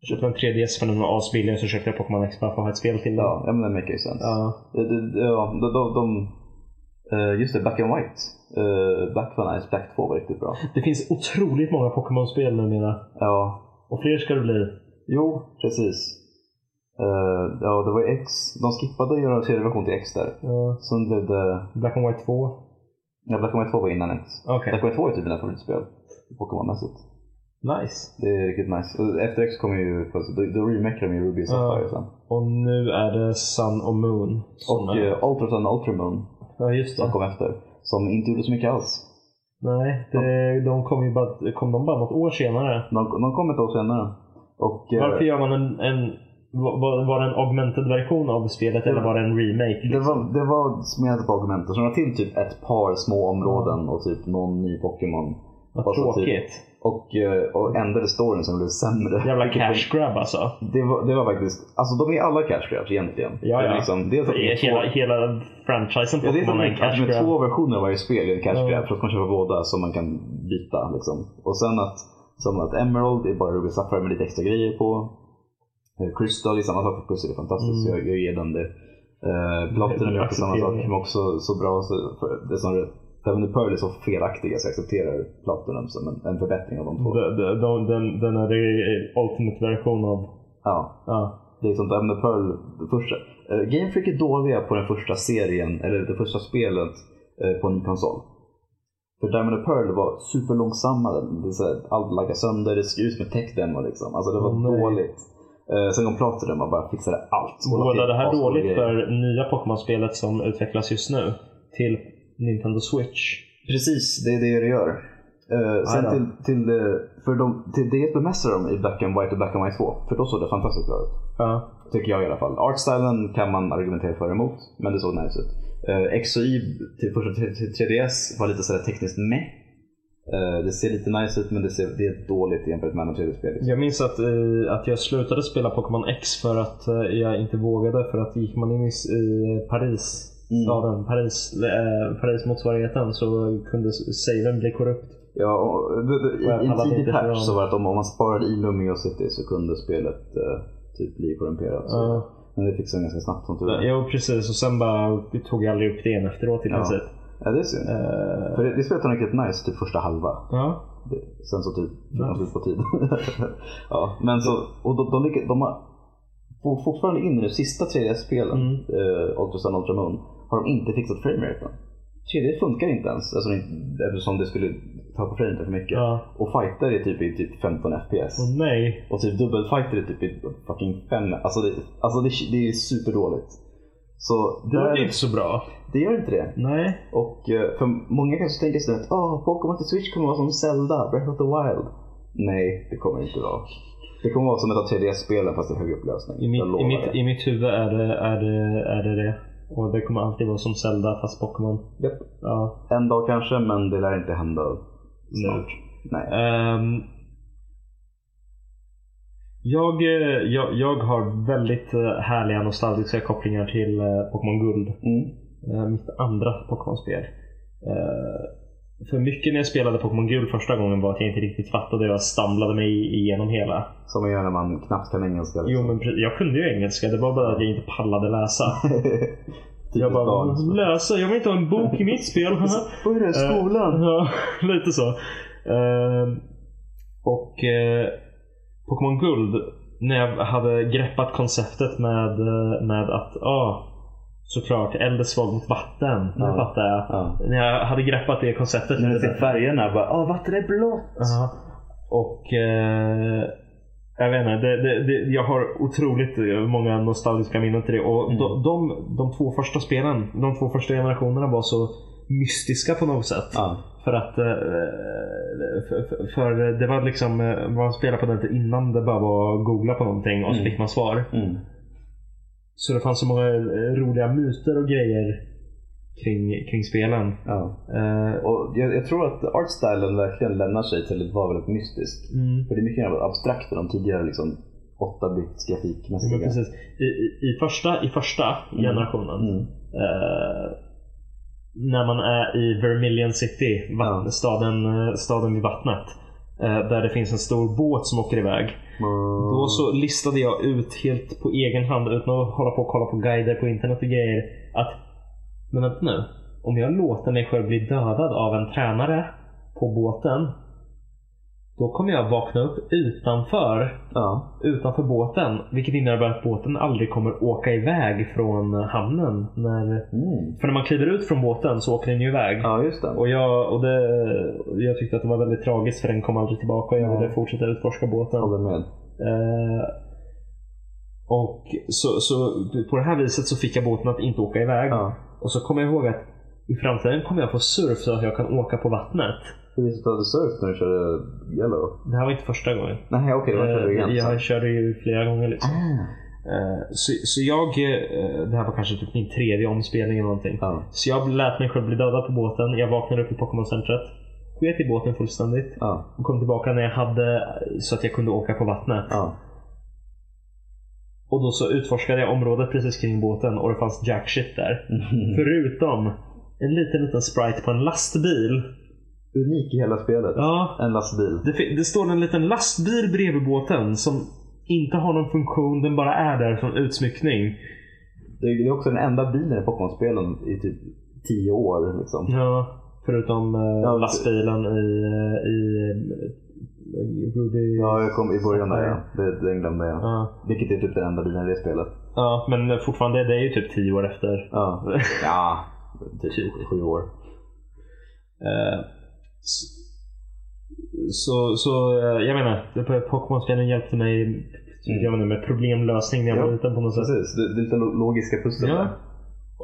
[SPEAKER 1] Jag köpte en 3DS för den var asbillig och så köpte jag Pokémon X bara för att ha ett spel till den.
[SPEAKER 2] Ja, ja men det make sense.
[SPEAKER 1] Ja.
[SPEAKER 2] Det- det- det- Ja, de, de, de, eh, just det, Black and White. Eh, Black var nice, Black 2 var riktigt bra.
[SPEAKER 1] Det finns otroligt många Pokémon-spel numera.
[SPEAKER 2] Ja,
[SPEAKER 1] Och fler ska det bli.
[SPEAKER 2] jo, precis. Eh, ja, det var ju X. De skippade att göra en tredje version till X där.
[SPEAKER 1] Ja.
[SPEAKER 2] Sen blev det...
[SPEAKER 1] Black and White 2.
[SPEAKER 2] Ja, Black and White 2 var innan X.
[SPEAKER 1] Okej.
[SPEAKER 2] Black and White 2 är typ mina favoritspel. Pokémon-mässigt.
[SPEAKER 1] Nice.
[SPEAKER 2] Det är riktigt nice. Och Efter X kommer ju... Alltså, då, då remakar de ju Ruby och Sapphire sen.
[SPEAKER 1] Och nu är det Sun och Moon. som
[SPEAKER 2] Och
[SPEAKER 1] är-
[SPEAKER 2] eh, Ultra Sun och Ultra Moon
[SPEAKER 1] ja, just
[SPEAKER 2] som
[SPEAKER 1] det.
[SPEAKER 2] kom efter. Som inte gjorde så mycket alls.
[SPEAKER 1] Nej, det, de kom ju bara, kom de bara något år senare.
[SPEAKER 2] De, de kom ett år senare. Och, eh,
[SPEAKER 1] Varför gör man en, en var, var det en augmented version av spelet eller var det en remake? liksom?
[SPEAKER 2] Det var, det var smedet på argumenten. Så de la till typ ett par små områden och typ någon ny Pokémon.
[SPEAKER 1] Vad
[SPEAKER 2] Och så typ-
[SPEAKER 1] tråkigt.
[SPEAKER 2] Och, eh, och ändrade storyn som blev sämre.
[SPEAKER 1] Jävla cash grab alltså.
[SPEAKER 2] Det var, det var faktiskt, alltså de är alla cash grabs egentligen.
[SPEAKER 1] Ja,
[SPEAKER 2] Det är
[SPEAKER 1] ja.
[SPEAKER 2] Liksom, dels att de är
[SPEAKER 1] Hela,
[SPEAKER 2] två,
[SPEAKER 1] hela franchisen
[SPEAKER 2] ja, det är som
[SPEAKER 1] Pokémon är en
[SPEAKER 2] att
[SPEAKER 1] cash
[SPEAKER 2] med
[SPEAKER 1] grab.
[SPEAKER 2] två versioner av varje spel är en cash
[SPEAKER 1] Ja.
[SPEAKER 2] grab. För att man köper båda som man kan byta. Liksom. Och sen att, som att Emerald är bara Ruby Sapphire med lite extra grejer på. Eh, Crystal är samma sak, för Crystal är fantastisk.
[SPEAKER 1] Mm.
[SPEAKER 2] Jag, jag ger den det. Uh, Platinum är också samma
[SPEAKER 1] Accepterar
[SPEAKER 2] sak,
[SPEAKER 1] det.
[SPEAKER 2] men också så bra. Så, för, det är som, även om Pearl är så felaktiga så jag accepterar Platinum som en, en förbättring av de två.
[SPEAKER 1] De- de- de- Den, den är det ultimate version av...
[SPEAKER 2] Ja.
[SPEAKER 1] Ja.
[SPEAKER 2] Det är sånt ämne Pearl, första, eh, Game Freak är dåliga på den första serien, eller det första spelet eh, på en ny konsol. För Diamond and Pearl var superlångsamma, det är så här, allt laggar sönder, det skruvs med tech demo liksom. Alltså det var
[SPEAKER 1] Åh, nej.
[SPEAKER 2] dåligt. Eh, sen kom Platinum och bara fixade allt. Och la
[SPEAKER 1] Båda
[SPEAKER 2] till
[SPEAKER 1] det här
[SPEAKER 2] ascoola
[SPEAKER 1] dåligt
[SPEAKER 2] grejer.
[SPEAKER 1] för nya Pokémon-spelet som utvecklas just nu till Nintendo Switch.
[SPEAKER 2] Precis, det är det det gör. Eh, sen
[SPEAKER 1] då.
[SPEAKER 2] till, till, det, för de, till det bemästrar de i Black and White och Black and White 2, för då såg det fantastiskt bra ut.
[SPEAKER 1] Ja.
[SPEAKER 2] Tycker jag i alla fall. Artstylen kan man argumentera för och emot, men det såg nice ut. Uh, X och Y till första till- till 3DS var lite sådär tekniskt meh. Eh, det ser lite nice ut, men det, ser, det är dåligt jämfört med andra liksom. 3D-spel.
[SPEAKER 1] Jag minns att, eh, att jag slutade spela Pokémon X för att eh, jag inte vågade. För att gick man in i, s- i Paris,
[SPEAKER 2] Mm.
[SPEAKER 1] staden, Paris, eh, Paris motsvarigheten så kunde s- saven bli korrupt.
[SPEAKER 2] Ja, och, det, det,
[SPEAKER 1] Och
[SPEAKER 2] I en
[SPEAKER 1] alla
[SPEAKER 2] tidig
[SPEAKER 1] tänkte
[SPEAKER 2] patch
[SPEAKER 1] från-
[SPEAKER 2] så var det att om, om man sparade i Lumio City så kunde spelet eh, typ bli korrumperat. Så.
[SPEAKER 1] Ja.
[SPEAKER 2] Men det fixade de ganska snabbt som tur var.
[SPEAKER 1] Jo precis och sen bara tog jag aldrig upp det igen efteråt i
[SPEAKER 2] Ja.
[SPEAKER 1] princip.
[SPEAKER 2] Ja, det är synd.
[SPEAKER 1] Eh,
[SPEAKER 2] För det, det spelet var riktigt nice typ första halva.
[SPEAKER 1] ja.
[SPEAKER 2] Det- Sen så typ fick de
[SPEAKER 1] Nice.
[SPEAKER 2] slut på tid. ja, men så, och de, de, lyckas- de har for- fortfarande in i de sista 3DS-spelen,
[SPEAKER 1] Mm.
[SPEAKER 2] eh, Ultra Sun Ultra Moon, har de inte fixat frameraten. 3D funkar inte ens alltså, det- eftersom det skulle ta på frameraten för mycket.
[SPEAKER 1] ja. Mm.
[SPEAKER 2] Och fighter är typ i typ 15 FPS.
[SPEAKER 1] Och nej.
[SPEAKER 2] Och typ dubbelfighter är typ i fucking 5. Alltså det, alltså det, det är superdåligt. Så
[SPEAKER 1] Det var
[SPEAKER 2] där-
[SPEAKER 1] ju inte så bra.
[SPEAKER 2] det gör inte det.
[SPEAKER 1] Nej.
[SPEAKER 2] Och eh, för många kanske tänker sådär att åh, Pokémon till Switch kommer vara som Zelda, Breath of the Wild. Nej, det kommer det inte vara. Det kommer vara som ett av 3DS-spelen fast i hög upplösning.
[SPEAKER 1] I mitt,
[SPEAKER 2] jag lovar
[SPEAKER 1] i mitt,
[SPEAKER 2] det.
[SPEAKER 1] i mitt huvud är det, är, det, är det det. Och det kommer alltid vara som Zelda fast Pokémon.
[SPEAKER 2] Japp.
[SPEAKER 1] Ja.
[SPEAKER 2] En dag kanske, men det lär inte hända snart. Nej.
[SPEAKER 1] Ehm, jag, eh, jag, jag har väldigt eh, härliga nostalgiska kopplingar till eh, Pokémon Guld.
[SPEAKER 2] Mm.
[SPEAKER 1] Eh, Mitt andra Pokémon-spel. Eh, För mycket när jag spelade Pokémon Guld första gången var att jag inte riktigt fattade. Jag stamlade mig igenom hela.
[SPEAKER 2] Som man gör när man knappt kan engelska.
[SPEAKER 1] Jo,
[SPEAKER 2] Liksom.
[SPEAKER 1] men pre- jag kunde ju engelska. Det var bara att jag inte pallade läsa.
[SPEAKER 2] Typiskt
[SPEAKER 1] Jag bara,
[SPEAKER 2] barn.
[SPEAKER 1] läsa? Jag vill inte ha en bok i mitt spel.
[SPEAKER 2] Vad är det?
[SPEAKER 1] Eh.
[SPEAKER 2] Skolan?
[SPEAKER 1] Ja, lite så. Ehm, och eh, Pokémon Guld, när jag hade greppat konceptet med, eh, med att ah, såklart eld är svag mot vatten. Nu
[SPEAKER 2] Ja.
[SPEAKER 1] fattar jag.
[SPEAKER 2] Ja.
[SPEAKER 1] När jag hade greppat det konceptet.
[SPEAKER 2] När du
[SPEAKER 1] lite.
[SPEAKER 2] ser färgerna, bara åh, vatten är blått.
[SPEAKER 1] Ja. Och eh, jag vet inte, det, det, det, jag har otroligt eh, många nostalgiska minnen till det. Och
[SPEAKER 2] Mm.
[SPEAKER 1] de, de, de två första spelen, de två första generationerna var så mystiska på något sätt.
[SPEAKER 2] Ja.
[SPEAKER 1] För att eh, för, för- för det var liksom, eh, vad man spelade på den innan det bara var att googla på någonting och så
[SPEAKER 2] Mm.
[SPEAKER 1] fick man svar.
[SPEAKER 2] Mm.
[SPEAKER 1] Så det fanns så många eh, roliga myter och grejer kring, kring spelen.
[SPEAKER 2] Ja.
[SPEAKER 1] Eh,
[SPEAKER 2] Och jag, jag tror att artstylen verkligen lämnar sig till att vara väldigt mystisk.
[SPEAKER 1] mm.
[SPEAKER 2] För det är mycket mer abstrakt än de tidigare liksom, 8-bits
[SPEAKER 1] Ja, men
[SPEAKER 2] grafikmässiga.
[SPEAKER 1] precis. I, i, i första, i första generationen
[SPEAKER 2] Mm.
[SPEAKER 1] eh, när man är i Vermilion City, vatt-
[SPEAKER 2] Ja.
[SPEAKER 1] staden, eh, staden vid vattnet. eh, Där det finns en stor båt som åker iväg. Då
[SPEAKER 2] Mm.
[SPEAKER 1] så listade jag ut helt på egen hand utan att hålla på och kolla på guider på internet och grejer. Att, men vänta nu. Om jag låter mig själv bli dödad av en tränare på båten. Då kommer jag vakna upp utanför,
[SPEAKER 2] Ja.
[SPEAKER 1] utanför båten. Vilket innebär att båten aldrig kommer åka iväg från hamnen. När,
[SPEAKER 2] Mm.
[SPEAKER 1] för när man kliver ut från båten så åker den ju iväg.
[SPEAKER 2] Ja, just det.
[SPEAKER 1] Och, jag, och det, jag tyckte att det var väldigt tragiskt för den kom aldrig tillbaka och jag
[SPEAKER 2] Ja.
[SPEAKER 1] ville fortsätta utforska båten.
[SPEAKER 2] Håller med.
[SPEAKER 1] Eh, och så, så på det här viset så fick jag båten att inte åka iväg.
[SPEAKER 2] Ja.
[SPEAKER 1] Och så kommer jag ihåg att i framtiden kommer jag få surf så att jag kan åka på vattnet.
[SPEAKER 2] Hur visste du att du surf när du körde Yellow?
[SPEAKER 1] Det här var inte första gången.
[SPEAKER 2] Nej, okej, det var körde du
[SPEAKER 1] Eh,
[SPEAKER 2] igen. sen.
[SPEAKER 1] jag körde ju flera gånger. Liksom.
[SPEAKER 2] Ah.
[SPEAKER 1] Eh, så, så jag, eh, det här var kanske typ min tredje omspelning eller någonting.
[SPEAKER 2] Ah. Ja.
[SPEAKER 1] Så jag lät mig själv bli dödad på båten. Jag vaknade upp i Pokémon-centret. Sket i båten fullständigt.
[SPEAKER 2] Ja.
[SPEAKER 1] Och kom tillbaka när jag hade så att jag kunde åka på vattnet.
[SPEAKER 2] Ja.
[SPEAKER 1] Och då så utforskade jag området precis kring båten och det fanns jack shit där.
[SPEAKER 2] Mm.
[SPEAKER 1] Förutom en liten, liten sprite på en lastbil.
[SPEAKER 2] Unik i hela spelet.
[SPEAKER 1] Ja,
[SPEAKER 2] En lastbil.
[SPEAKER 1] det, fi- det står en liten lastbil bredvid båten som inte har någon funktion. Den bara är där som utsmyckning.
[SPEAKER 2] Det är det är också den enda bilen i Pokémon-spelen i typ tio år. Liksom.
[SPEAKER 1] Ja, förutom eh,
[SPEAKER 2] Ja, det-
[SPEAKER 1] lastbilen i, eh, i, eh, i Ruby.
[SPEAKER 2] Ja, jag kom i början där ja. Det, den glömde jag.
[SPEAKER 1] Ja.
[SPEAKER 2] Vilket är typ den enda bilen i det spelet.
[SPEAKER 1] ja, men fortfarande, det är ju typ tio år efter.
[SPEAKER 2] Ja, ja typ sju år.
[SPEAKER 1] Eh, s- så, så eh, jag menar, det- på- Pokémon-spelen hjälpte mig jag menar, med problemlösning när jag var
[SPEAKER 2] Mm. Ja,
[SPEAKER 1] liten på något sätt.
[SPEAKER 2] Precis, det, det är lite lo- logiska pussel
[SPEAKER 1] Ja.
[SPEAKER 2] där.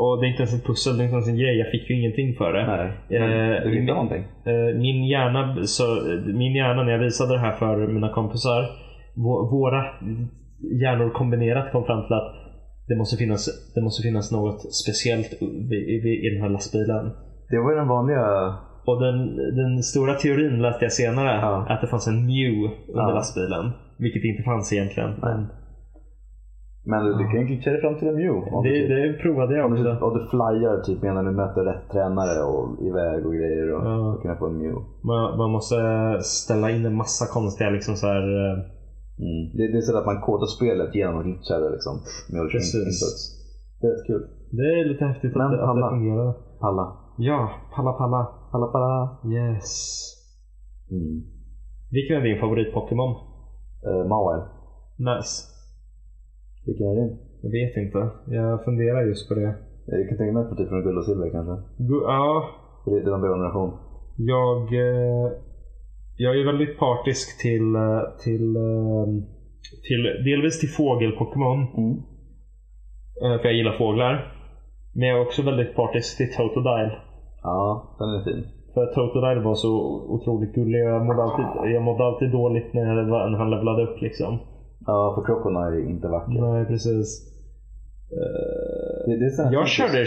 [SPEAKER 1] Och det är inte ens ett pussel, det är inte ens en grej. Jag fick ju ingenting för det.
[SPEAKER 2] Nej,
[SPEAKER 1] Eh,
[SPEAKER 2] men du
[SPEAKER 1] min-
[SPEAKER 2] hittar någonting.
[SPEAKER 1] Eh, Min hjärna, så, eh, min hjärna, när jag visade det här för mina kompisar, vå- våra hjärnor kombinerat kom fram till att det måste finnas, det måste finnas något speciellt i, i, i den här lastbilen.
[SPEAKER 2] Det var ju den vanliga...
[SPEAKER 1] Och den, den stora teorin läste jag senare,
[SPEAKER 2] Ja.
[SPEAKER 1] att det fanns en Mew under
[SPEAKER 2] Ja.
[SPEAKER 1] lastbilen. Vilket inte fanns egentligen. Men
[SPEAKER 2] Men du, du kan ju glitcha dig fram till en Mew. Om,
[SPEAKER 1] det,
[SPEAKER 2] du, typ-
[SPEAKER 1] det provade jag
[SPEAKER 2] om, du,
[SPEAKER 1] också.
[SPEAKER 2] om du flyar typ medan du möter rätt tränare och iväg och grejer. Och,
[SPEAKER 1] Ja.
[SPEAKER 2] och kunna få en Mew.
[SPEAKER 1] Man, man måste ställa in en massa konstiga liksom så här, eh,
[SPEAKER 2] Mm. Det, det är så att man kodar spelet genom att glitcha det liksom. Med olika
[SPEAKER 1] Precis.
[SPEAKER 2] inputs. Det är rätt kul.
[SPEAKER 1] Det är lite häftigt att,
[SPEAKER 2] Men
[SPEAKER 1] det- att det
[SPEAKER 2] palla.
[SPEAKER 1] fungerar.
[SPEAKER 2] Palla.
[SPEAKER 1] Ja, palla palla.
[SPEAKER 2] Palla palla.
[SPEAKER 1] Yes.
[SPEAKER 2] Mm.
[SPEAKER 1] Vilken är din favorit-Pokémon?
[SPEAKER 2] Eh, Mawile.
[SPEAKER 1] Nice.
[SPEAKER 2] Vilken är din?
[SPEAKER 1] Jag vet inte. Jag funderar just på det.
[SPEAKER 2] Jag kan tänka mig att det är typ från guld och silver kanske.
[SPEAKER 1] Gu- ja,
[SPEAKER 2] För det, det var en bra generation.
[SPEAKER 1] Jag, eh, jag är väldigt partisk till, eh, till, eh, till delvis till fågel-Pokémon.
[SPEAKER 2] Mm.
[SPEAKER 1] eh, För jag gillar fåglar. Men jag är också väldigt partisk till Totodile.
[SPEAKER 2] Ja, den är fin.
[SPEAKER 1] För att Totodile var så otroligt gullig. Jag mådde alltid, jag mådde alltid dåligt när, jag var- när han levlade upp liksom.
[SPEAKER 2] Ja, för Crocona är inte vacker.
[SPEAKER 1] Nej, precis.
[SPEAKER 2] Det, det är sån här
[SPEAKER 1] Jag
[SPEAKER 2] typisk-
[SPEAKER 1] körde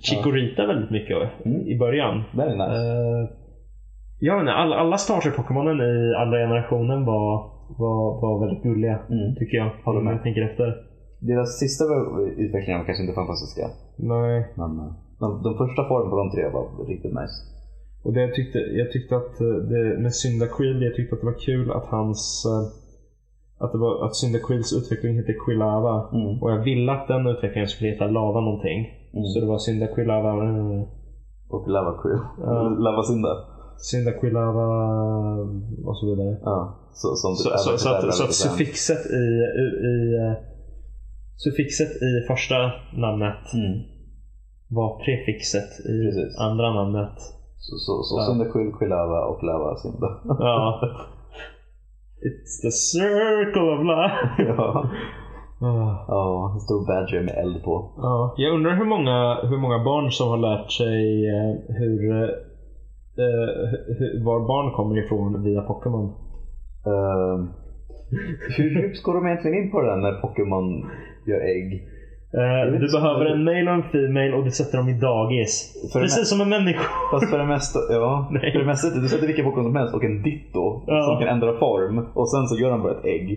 [SPEAKER 1] Chikorita väldigt mycket
[SPEAKER 2] Mm.
[SPEAKER 1] i början.
[SPEAKER 2] Den är nice.
[SPEAKER 1] Eh, jag vet inte, alla, alla starter-Pokémonen i andra generationen var, var, var väldigt gulliga.
[SPEAKER 2] Mm.
[SPEAKER 1] Tycker jag.
[SPEAKER 2] Håller med.
[SPEAKER 1] Om jag tänker efter.
[SPEAKER 2] Deras sista utvecklingar var kanske inte fantastiska.
[SPEAKER 1] Nej.
[SPEAKER 2] Men eh, de, de första formen på de tre var riktigt nice.
[SPEAKER 1] Och det jag, tyckte, jag tyckte att eh, det, med Syndaquil, jag tyckte att det var kul att hans eh, att, det var, att Syndaquils utveckling hette Quilava.
[SPEAKER 2] Mm.
[SPEAKER 1] Och jag ville att den utvecklingen skulle heta Lava någonting. Så det var Syndaquilava. Mm.
[SPEAKER 2] Och Lava Crew.
[SPEAKER 1] Ja.
[SPEAKER 2] Lava Synda.
[SPEAKER 1] Syndaquilava och så vidare.
[SPEAKER 2] Ja. Så, som
[SPEAKER 1] Så,
[SPEAKER 2] typ
[SPEAKER 1] så, så, att,
[SPEAKER 2] Avatar
[SPEAKER 1] så att
[SPEAKER 2] Avatar.
[SPEAKER 1] suffixet i, i, eh, suffixet i första namnet
[SPEAKER 2] Mm.
[SPEAKER 1] var prefixet i
[SPEAKER 2] Precis.
[SPEAKER 1] andra namnet.
[SPEAKER 2] Så, så, så
[SPEAKER 1] Ja.
[SPEAKER 2] Synda Quill, Quillava och Lava Synda.
[SPEAKER 1] Ja. It's the circle of life.
[SPEAKER 2] ja.
[SPEAKER 1] Ah,
[SPEAKER 2] ja, en stor badger med eld på.
[SPEAKER 1] Ja. Jag undrar hur många, hur många barn som har lärt sig eh, hur, eh, hur, var barn kommer ifrån via Pokémon.
[SPEAKER 2] Ehm, hur djupt går de egentligen in på det där när Pokémon gör ägg?
[SPEAKER 1] Eh,
[SPEAKER 2] vet
[SPEAKER 1] du
[SPEAKER 2] inte.
[SPEAKER 1] behöver en male och en female och du sätter dem i dagis.
[SPEAKER 2] För den här-
[SPEAKER 1] Precis som en människa.
[SPEAKER 2] Fast för det mesta, ja.
[SPEAKER 1] Nej.
[SPEAKER 2] För det mesta, du sätter vilken Pokémon som helst och en Ditto
[SPEAKER 1] Ja.
[SPEAKER 2] som kan ändra form och sen så gör han eh, bara ett ägg.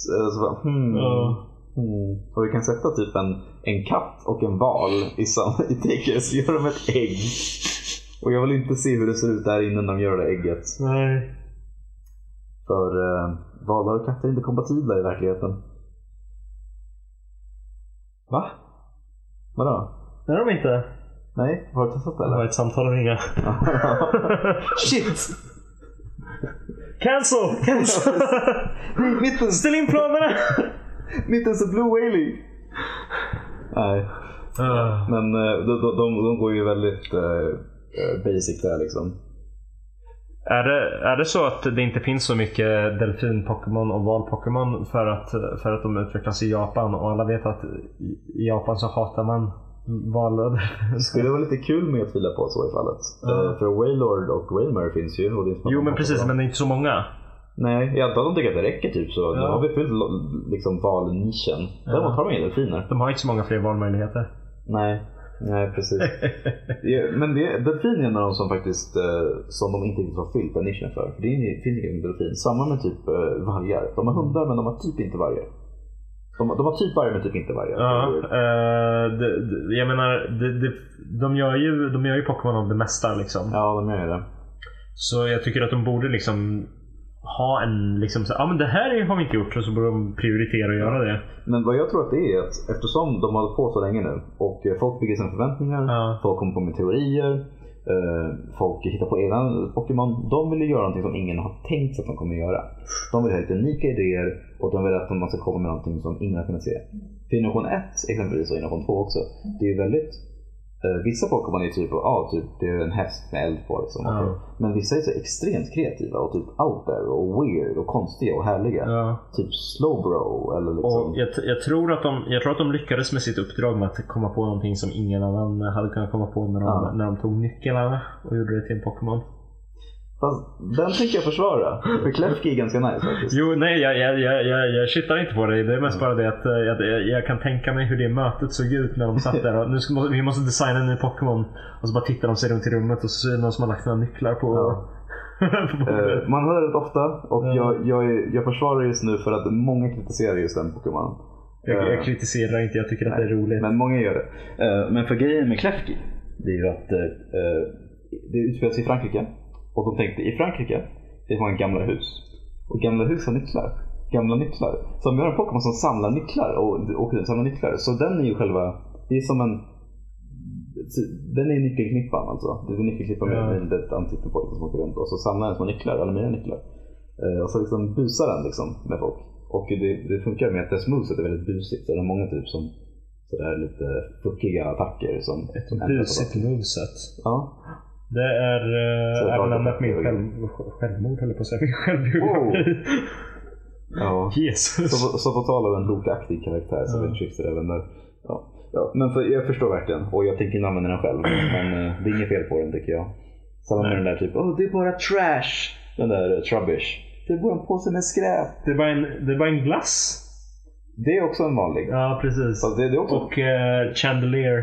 [SPEAKER 2] Så, så bara, hmm.
[SPEAKER 1] Ja.
[SPEAKER 2] Och du kan sätta typ en, en katt och en val i samma i tecken så gör de ett ägg. Och jag vill inte se hur det ser ut där inne när de gör det ägget.
[SPEAKER 1] Nej.
[SPEAKER 2] För eh, valar och katter är inte kompatibla i verkligheten. Va? Vadå?
[SPEAKER 1] Det är de inte.
[SPEAKER 2] Nej, har du testat det
[SPEAKER 1] Det var
[SPEAKER 2] eller?
[SPEAKER 1] ett samtal att ringa.
[SPEAKER 2] Shit!
[SPEAKER 1] Cancel! Cancel!
[SPEAKER 2] Mittens,
[SPEAKER 1] Ställ in planerna!
[SPEAKER 2] mittens är blue whaling! Nej.
[SPEAKER 1] Ah.
[SPEAKER 2] Men eh, de, de, de, de går ju väldigt eh, eh, basic där liksom.
[SPEAKER 1] Är det, är det så att det inte finns så mycket delfin-Pokémon och val-Pokémon för att, för att de utvecklas i Japan och alla vet att i- i Japan så hatar man valar
[SPEAKER 2] Skulle vara lite kul med att tvila på så i fallet.
[SPEAKER 1] Ja.
[SPEAKER 2] Eh, För Waylord och Wailmer finns ju. Och det är inte
[SPEAKER 1] Jo
[SPEAKER 2] någon
[SPEAKER 1] men
[SPEAKER 2] annan
[SPEAKER 1] precis,
[SPEAKER 2] som-
[SPEAKER 1] men det är inte så många.
[SPEAKER 2] Nej, jag antar att de tycker att det räcker typ så. Nu
[SPEAKER 1] Ja.
[SPEAKER 2] har vi fyllt lo- liksom, valnischen. Däremot har de inga delfiner.
[SPEAKER 1] De har inte så många fler valmöjligheter.
[SPEAKER 2] Nej, nej precis. Ja, men det, delfin är en av de som faktiskt eh, som de inte riktigt har fyllt den nischen för. för det är ju- finns ingen delfin. Samma med typ eh, vargar. De har hundar men de har typ inte vargar. De, de har typ vargar men typ inte vargar.
[SPEAKER 1] Ja, eh, det, det, jag menar, det, det, de gör ju, de gör ju Pokémon av det mesta liksom.
[SPEAKER 2] ja de gör ju det.
[SPEAKER 1] Så jag tycker att de borde liksom ha en liksom så, ja men det här har vi inte gjort och så borde de prioritera att göra det.
[SPEAKER 2] Men vad jag tror att det är att eftersom de har hållit på så länge nu och eh, folk bygger sina förväntningar,
[SPEAKER 1] Ja.
[SPEAKER 2] folk kommer på med teorier, eh, folk hittar på egna Pokémon. De vill ju göra någonting som ingen har tänkt sig att de kommer göra. De vill ha lite unika idéer och de vill att man ska komma med någonting som ingen har kunnat se. För Innovation 1 exempelvis och Innovation 2 också, det är ju väldigt eh, Vissa Pokémon är typ, ja, typ, det är en häst med eld på liksom.
[SPEAKER 1] Ja.
[SPEAKER 2] okej. Men vissa är så extremt kreativa och typ out there och weird och konstiga och härliga.
[SPEAKER 1] Ja.
[SPEAKER 2] Typ Slowbro eller liksom.
[SPEAKER 1] Och jag, t- jag, tror att de, jag tror att de lyckades med sitt uppdrag med att komma på någonting som ingen annan hade kunnat komma på när de,
[SPEAKER 2] Ja.
[SPEAKER 1] när de tog nycklarna och gjorde det till en Pokémon.
[SPEAKER 2] Fast den tänker jag försvara. För Klefki är ganska nice faktiskt.
[SPEAKER 1] Jo, nej, jag, jag, jag, jag, jag kittar inte på dig. Det är mest bara det att eh, jag, jag, jag kan tänka mig hur det mötet såg ut när de satt där och nu ska, vi måste designa en ny Pokémon. Och så bara tittar de sig runt i rummet och så är det någon som har lagt några nycklar på,
[SPEAKER 2] Ja.
[SPEAKER 1] på bordet.
[SPEAKER 2] Eh, Man hör det ofta och
[SPEAKER 1] Ja.
[SPEAKER 2] jag, jag, är- jag försvarar just nu för att många kritiserar just den Pokémonen.
[SPEAKER 1] jag,
[SPEAKER 2] eh,
[SPEAKER 1] jag kritiserar inte, jag tycker att det är
[SPEAKER 2] nej,
[SPEAKER 1] roligt.
[SPEAKER 2] Men många gör det. Eh, Men för grejen med Klefki, det är ju att eh, eh, det utspelar sig i Frankrike. Och de tänkte i Frankrike, det har man gamla hus. Och gamla hus har nycklar. Gamla nycklar. Så de gör en Pokémon som samlar nycklar och åker runt och samlar nycklar. Så den är ju själva, det är som en den är nyckelknippan alltså. Det är nyckelknippan med,
[SPEAKER 1] Ja.
[SPEAKER 2] med ett litet ansikte på liksom, som åker runt och så samlar den små nycklar, eller mina nycklar. Eh, och så liksom busar den liksom med folk. Och det, det funkar med att dess moveset är väldigt busigt. Så det är många typ som sådär lite fuckiga attacker som... som ändrar på
[SPEAKER 1] Busigt
[SPEAKER 2] dem.
[SPEAKER 1] moveset.
[SPEAKER 2] Ja.
[SPEAKER 1] Det är
[SPEAKER 2] Så
[SPEAKER 1] eh,
[SPEAKER 2] jag
[SPEAKER 1] även
[SPEAKER 2] tar
[SPEAKER 1] annat
[SPEAKER 2] det.
[SPEAKER 1] min själv, självmord höll jag på att säga. Min självbiografi.
[SPEAKER 2] ja.
[SPEAKER 1] Jesus.
[SPEAKER 2] Så, på- så på tal om en lokaktig karaktär så
[SPEAKER 1] Ja.
[SPEAKER 2] mm. finns det även där. Ja. Ja, men för, jag förstår verkligen och jag tänker inte använda den själv. Men eh, det är inget fel på den tycker jag. Samma med den där typ, åh det är bara trash. Den där eh, trubbish. Det är bara en påse med skräp.
[SPEAKER 1] Det är, bara en, det är bara en glass.
[SPEAKER 2] Det är också en vanlig.
[SPEAKER 1] Ja, precis.
[SPEAKER 2] Fast det, det är också,
[SPEAKER 1] Och eh, Chandelier.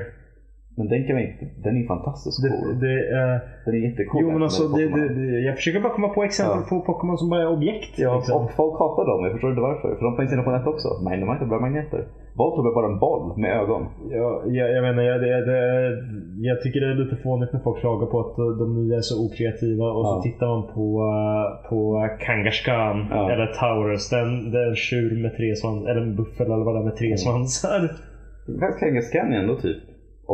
[SPEAKER 2] Men den kan vi inte, den är ju fantastiskt
[SPEAKER 1] Det,
[SPEAKER 2] cool.
[SPEAKER 1] det, eh,
[SPEAKER 2] Den är jättecool.
[SPEAKER 1] jo, men
[SPEAKER 2] med
[SPEAKER 1] alltså, det,
[SPEAKER 2] Pokémon.
[SPEAKER 1] det, det, jag försöker bara komma på exempel
[SPEAKER 2] Ja.
[SPEAKER 1] på Pokémon som bara är objekt.
[SPEAKER 2] Ja,
[SPEAKER 1] liksom.
[SPEAKER 2] och folk hatar dem, jag förstår inte varför. För de finns inne på nät också. Men de har inte bra magneter. Voltorb är bara en boll med ögon.
[SPEAKER 1] ja, jag, jag menar, jag, det, det, jag tycker det är lite fånigt när folk klagar på att eh, de nya är så okreativa och
[SPEAKER 2] Ja.
[SPEAKER 1] så tittar man på, eh, på Kangaskhan
[SPEAKER 2] Ja.
[SPEAKER 1] eller Taurus. Den, det är en tjur med tre svansar, eller en buffel eller vad det är med tre svansar.
[SPEAKER 2] Fast Kangaskhan är ändå typ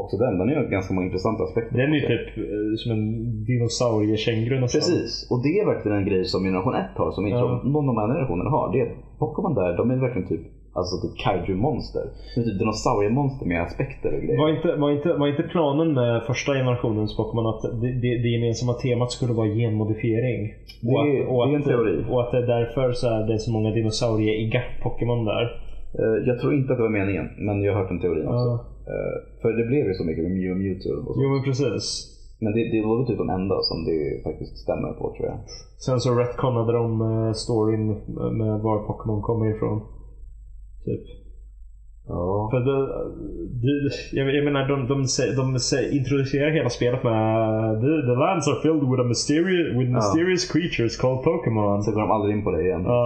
[SPEAKER 2] också den. Den är ju ganska många intressanta aspekter.
[SPEAKER 1] Den är ju typ eh, som en dinosauriekänguru nästan.
[SPEAKER 2] Precis, och det är verkligen en grej som generation 1 har som inte
[SPEAKER 1] Ja.
[SPEAKER 2] någon av de andra generationerna har. Det är att Pokémon där, de är verkligen typ Alltså typ kaiju-monster. De är typ dinosauriemonster med aspekter och grejer.
[SPEAKER 1] Var inte, var, inte, var inte planen med första generationens Pokémon att det, det, det gemensamma temat skulle vara genmodifiering? och
[SPEAKER 2] Det-
[SPEAKER 1] att, och
[SPEAKER 2] det är
[SPEAKER 1] att-
[SPEAKER 2] en teori.
[SPEAKER 1] Och att det är därför så är det så många dinosaurieiga Pokémon där.
[SPEAKER 2] Eh, Jag tror inte att det var meningen, men jag har hört den teorin också.
[SPEAKER 1] Ja.
[SPEAKER 2] Eh, För det blev ju så mycket med Mew och Mewtwo och så.
[SPEAKER 1] Jo men precis.
[SPEAKER 2] Men det, det var väl typ de enda som det faktiskt stämmer på tror jag.
[SPEAKER 1] Sen så retconade de eh, storyn med var Pokémon kommer ifrån. Typ.
[SPEAKER 2] Ja.
[SPEAKER 1] För det, det, jag, jag menar, de, de, sä- de, sä- introducerar hela spelet med the, the lands are filled with, a mysterious, with
[SPEAKER 2] Ja.
[SPEAKER 1] mysterious creatures called Pokémon.
[SPEAKER 2] Så går de aldrig in på det igen.
[SPEAKER 1] Ja.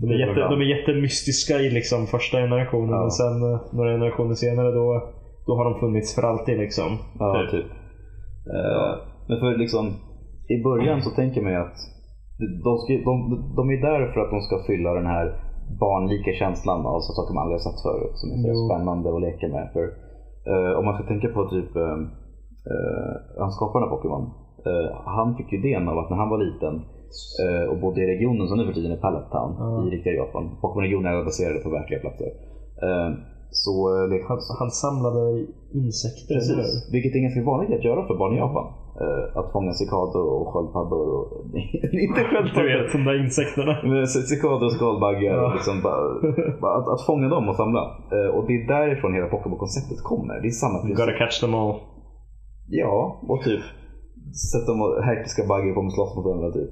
[SPEAKER 1] De är, jätte, de är jättemystiska i liksom första generationen,
[SPEAKER 2] Ja.
[SPEAKER 1] men sen eh, några generationer senare då, då har de funnits för alltid. Liksom.
[SPEAKER 2] Ja, typ. Eh, Men för liksom, i början så tänker man ju att de, ska, de, de är där för att de ska fylla den här barnlika känslan av så saker man aldrig har sett förut som är så
[SPEAKER 1] Jo.
[SPEAKER 2] spännande att leka med. För, eh, om man ska tänka på typ eh, eh, han skaparen av Pokémon. Eh, han fick ju idén av att när han var liten eh, och bodde i regionen som nu för tiden är Pallet Town
[SPEAKER 1] Ja.
[SPEAKER 2] i riktiga Japan. Pokémon-regionen är baserade på verkliga platser. Eh, så eh, lekte
[SPEAKER 1] Han, han samlade insekter.
[SPEAKER 2] Precis, vilket är ganska vanligt att göra för barn i Japan. Eh, att fånga cikador och sköldpaddor. Och... inte
[SPEAKER 1] Du
[SPEAKER 2] sköldpaddor.
[SPEAKER 1] vet, de där insekterna.
[SPEAKER 2] Men c- Cikador och skalbaggar.
[SPEAKER 1] Ja.
[SPEAKER 2] och Liksom bara, bara att, att fånga dem och samla. Eh, och det är därifrån hela Pokémon-konceptet kommer. Det är samma
[SPEAKER 1] You
[SPEAKER 2] princip.
[SPEAKER 1] gotta catch them all.
[SPEAKER 2] Ja, och typ sätt dem och herkiska baggar på mig och slåss mot varandra typ.